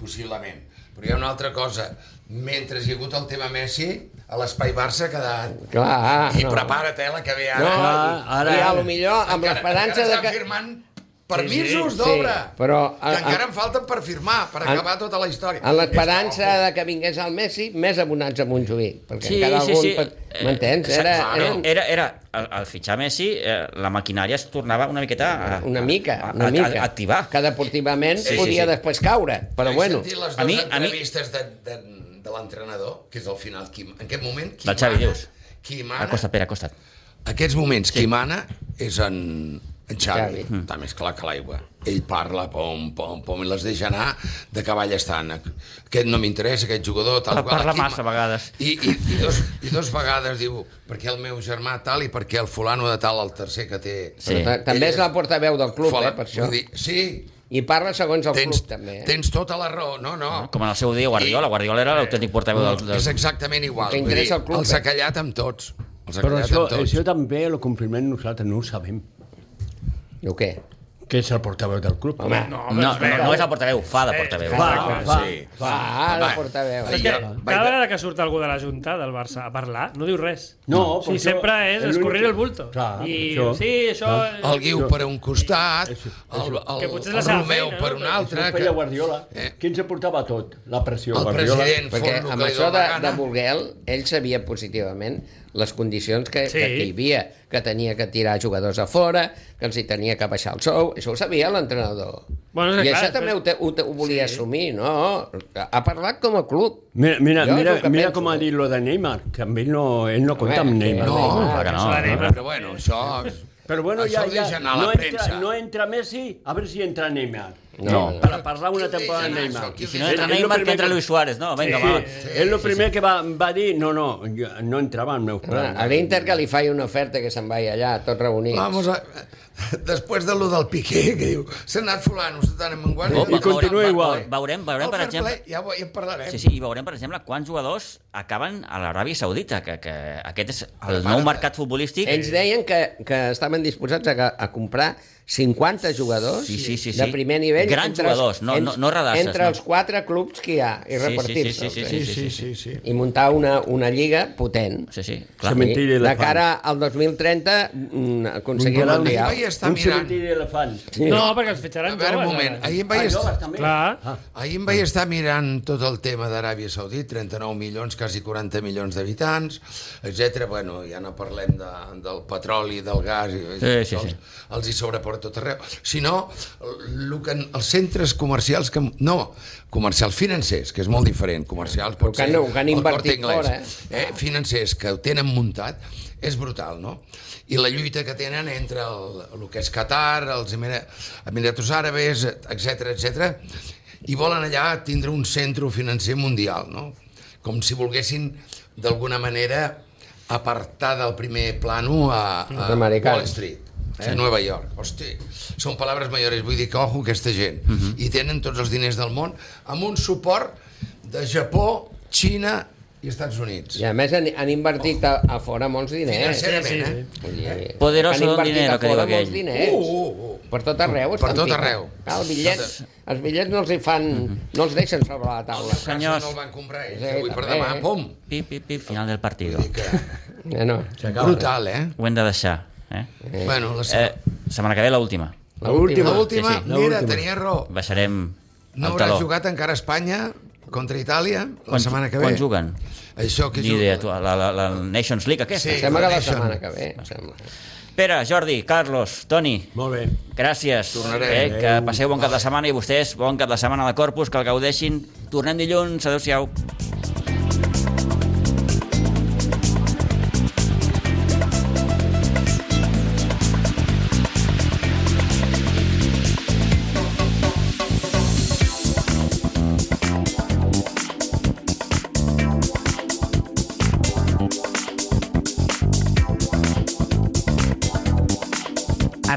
C: possiblement. Però hi ha una altra cosa. Mentre hi ha hagut el tema Messi, a l'espai Barça ha quedat...
F: Clar,
C: I
F: Ah, no.
C: prepara't, eh, la que ve
F: No,
C: ara.
D: Clar,
F: ara,
D: ara-
F: i a lo millor amb l'esperança de
C: que...
F: que...
C: firmant permisos d'obra.
F: sí, però-
C: que
F: a-
C: encara
F: a-
C: en falten per firmar, per
F: en-
C: acabar tota la història.
F: En l'esperança
C: És
F: de que vingués el Messi, més abonats a Montjuïc. Perquè
B: Sí,
F: encara
B: sí,
F: algun...
B: sí.
F: pe-
B: Eh,
F: M'entens? Era,
C: clar,
F: era,
C: no.
B: Era, era, al, al fitxar Messi, eh, la maquinària es tornava una miqueta... A,
F: una mica,
B: a-
F: una
B: a-
F: mica.
B: A, a activar.
F: Que deportivament
B: Sí, sí,
F: podia
B: sí.
F: després caure, però
C: He
F: bueno.
C: sentit les dues
B: A mi- a mi-
C: entrevistes de, de, de l'entrenador, que és al final, qui, en aquest moment, qui
B: Del Xavi,
C: mana,
B: dius.
C: qui mana,
B: Acosta't, Pere, acosta't.
C: aquests moments qui mana és en, en Xavi,
F: Xavi.
B: Mm.
C: Xavi. està més clar que l'aigua. Ell parla, pom, pom, pom, i les deixa anar de cavall estant. Aquest no m'interessa, aquest jugador, tal
B: Ah, parla
C: Aquí ma-
B: massa a vegades.
C: I, i, i, dos, I dos vegades diu, perquè el meu germà tal i perquè el fulano de tal, el tercer que té...
B: Sí.
F: Ta- També és la portaveu del club, eh, per això.
C: Vull Dir, sí,
F: I parla segons el
C: tens,
F: club, també. eh.
C: tens tota la raó. No, no.
B: Com en el seu dia Guardiola. Guardiola era l'autèntic portaveu del...
C: És
B: del...
C: exactament igual.
F: El que
C: Vull dir,
F: interessa al club,
C: els
F: eh?
C: ha callat amb tots. Els ha
D: Però
C: callat
D: això,
C: amb tots.
D: això també el compliment nosaltres no ho sabem,
F: O què?
D: que és el portaveu del club.
F: Home,
B: No, no, no és el portaveu, fa
C: Eh,
B: de portaveu.
D: Va,
E: Exacte,
D: va,
C: sí.
D: va.
F: va, Ah, la
C: Va.
F: portaveu.
E: És
C: Ai,
E: que
C: Eh, Ja, vaig-
E: cada vegada que surt algú de la Junta del Barça a parlar, no diu res.
D: No,
E: o
D: però
E: sigui,
D: això
E: sempre és
D: és l'únic
E: escorrir
D: que-
E: el bulto.
D: Clar,
E: I,
D: això.
E: sí, això...
C: el Guiu per un costat, el, el,
E: Que potser és
C: el
E: la seva
C: Romeu
E: feina,
C: per
E: no?
C: un
E: Però
D: Això
C: altre,
D: ho
C: que
D: feia Guardiola.
C: Eh.
D: Qui ens portava tot? La pressió,
C: el
D: Guardiola.
C: president fot
F: Perquè
C: el
F: amb
C: que li
F: això de,
C: dóna
F: de
C: gana.
F: Burguel, ell sabia positivament les condicions que,
E: Sí.
F: que hi havia, que tenia que tirar jugadors a fora, que els hi tenia que baixar el sou, això ho sabia l'entrenador.
E: Bueno, és que
F: I
E: clar,
F: això també ho, te, ho, te, ho volia sí. assumir, no? Ha parlat com a club.
D: Mira, mira,
F: Jo és
D: mira,
F: el que
D: mira
F: penso,
D: com ha
F: eh?
D: dit lo de Neymar, que amb ell no, ell no compta amb
F: Home,
D: Neymar.
C: No,
B: clar que no.
E: Això
C: Però bueno, això...
D: Però bueno,
C: això
D: ja,
C: ho
D: ja
C: deixa anar a la
D: no,
C: premsa.
D: entra, no entra Messi, a veure si entra Neymar.
F: No.
D: Per a parlar
C: Qui
D: una
C: ho
D: temporada de
C: deixa anar,
D: Neymar.
C: això? Qui ho
B: Si no
C: És-
B: entra
D: És lo
B: Neymar, que
D: primer
B: entra Luis Suárez. No, vinga, va.
D: Sí, és el primer que va, va dir, no, no, jo, no entrava al meu
F: Clar,
D: plan.
F: A l'Inter que li faci una oferta que se'n vagi allà, tots reunits.
C: Vamos a... Després de lo del Piqué, que diu, s'ha anat fulano, s'ha anat amb un guàrdia...
B: Oh,
D: I continua
B: veurem,
D: igual.
B: Veurem, veurem,
C: El
B: per
C: fair
B: exemple...
C: play, eh. Ja, ho- ja en parlarem.
B: Sí, sí, i veurem, per exemple, quants jugadors acaben a l'Aràbia Saudita, que, que aquest és el nou mercat futbolístic.
F: Ells deien que, que estaven disposats a, a comprar 50 jugadors
B: Sí, sí, sí, sí.
F: de primer nivell
B: Grans
F: els-
B: jugadors, no- no- no radasses,
F: entre
B: no.
F: els quatre clubs que hi ha i
B: Sí, sí, sí,
F: repartir-se'ls
B: sí,
F: eh?
B: sí, sí,
C: sí, sí.
F: i muntar una, una lliga potent
B: Sí, sí, clar.
D: Sí, Cementiri
F: I de
D: elefant.
F: cara al 2030 mm, aconseguir el
D: Mundial.
F: Mundial
C: Ahir vaig estar
D: un
C: mirant...
D: cementiri d'elefants.
E: No, perquè els fitxaran
C: A veure, un
E: joves,
C: moment.
E: ara.
C: Ahir em
D: Ah,
C: vaig estar...
D: joves també.
E: Clar.
D: Ah.
C: Ahir em vaig estar mirant tot el tema d'Aràbia Saudí, 39 milions, quasi 40 milions d'habitants, etc. Bueno, ja no parlem de, del petroli, del gas, i,
B: Sí, sí,
C: els,
B: sí.
C: els hi sobra per tot arreu. Si no, el, que, els centres comercials... Que, no, comercials financers, que és molt diferent. Comercials pot
F: El que
C: ser
F: han- el que han
C: el Corte
F: invertit
C: Inglés,
F: fora, eh?
C: eh, financers que ho tenen muntat és brutal, no? I la lluita que tenen entre el, el que és Qatar, els Emira- Emiratos Àrabes, etc etc. i volen allà tindre un centre financer mundial, no? Com si volguessin, d'alguna manera, apartar del primer plano a,
F: Els
C: a
F: americans.
C: Wall Street. eh? Nova York. Hosti, són paraules mayores, vull dir que ojo aquesta gent. Uh
B: Mhm.
C: -huh. I tenen tots els diners del món amb un suport de Japó, Xina i Estats Units.
F: I a més han, han invertit a, a fora molts diners.
C: Sincerament,
E: sí, sí.
C: eh?
F: Vull dir,
B: Poderoso
F: han invertit
B: don dinero,
F: a
B: que diu
F: fora
B: aquell.
F: molts diners.
C: Uh, uh, uh.
F: Per tot arreu.
C: Per
F: estan
C: tot
F: picant.
C: arreu.
F: Ah, els bitllets, els bitllets no els hi fan...
B: Mhm.
F: No els deixen sobre la taula.
B: Senyors.
C: No el van comprar ells,
F: Sí,
C: avui per
F: també,
C: demà,
F: eh?
C: pum.
B: Pi, pi, pi, final del partido.
C: Vull dir que...
F: Ja Eh, no.
C: Brutal, eh?
B: Ho hem de deixar. Eh?
C: Bueno, la,
B: Eh, setmana que ve l'última.
C: l'última, l'última,
B: Sí, sí.
C: mira, tenia raó.
B: Baixarem
C: No
B: el
C: haurà
B: taló.
C: jugat encara a Espanya contra Itàlia la
B: Quan-
C: setmana que ve.
B: Quan juguen?
C: Això que
B: Ni
C: juga.
B: idea, tu, la, la, la Nations League aquesta.
C: Sí.
F: Sembla que la
C: deixen.
F: setmana que ve. em Sembla.
B: Pere, Jordi, Carlos, Toni,
D: Molt bé.
B: gràcies.
C: Tornarem.
B: Eh, que passeu bon cap de setmana i vostès bon cap de setmana de Corpus, que el gaudeixin. Tornem dilluns. Adéu-siau.
A: A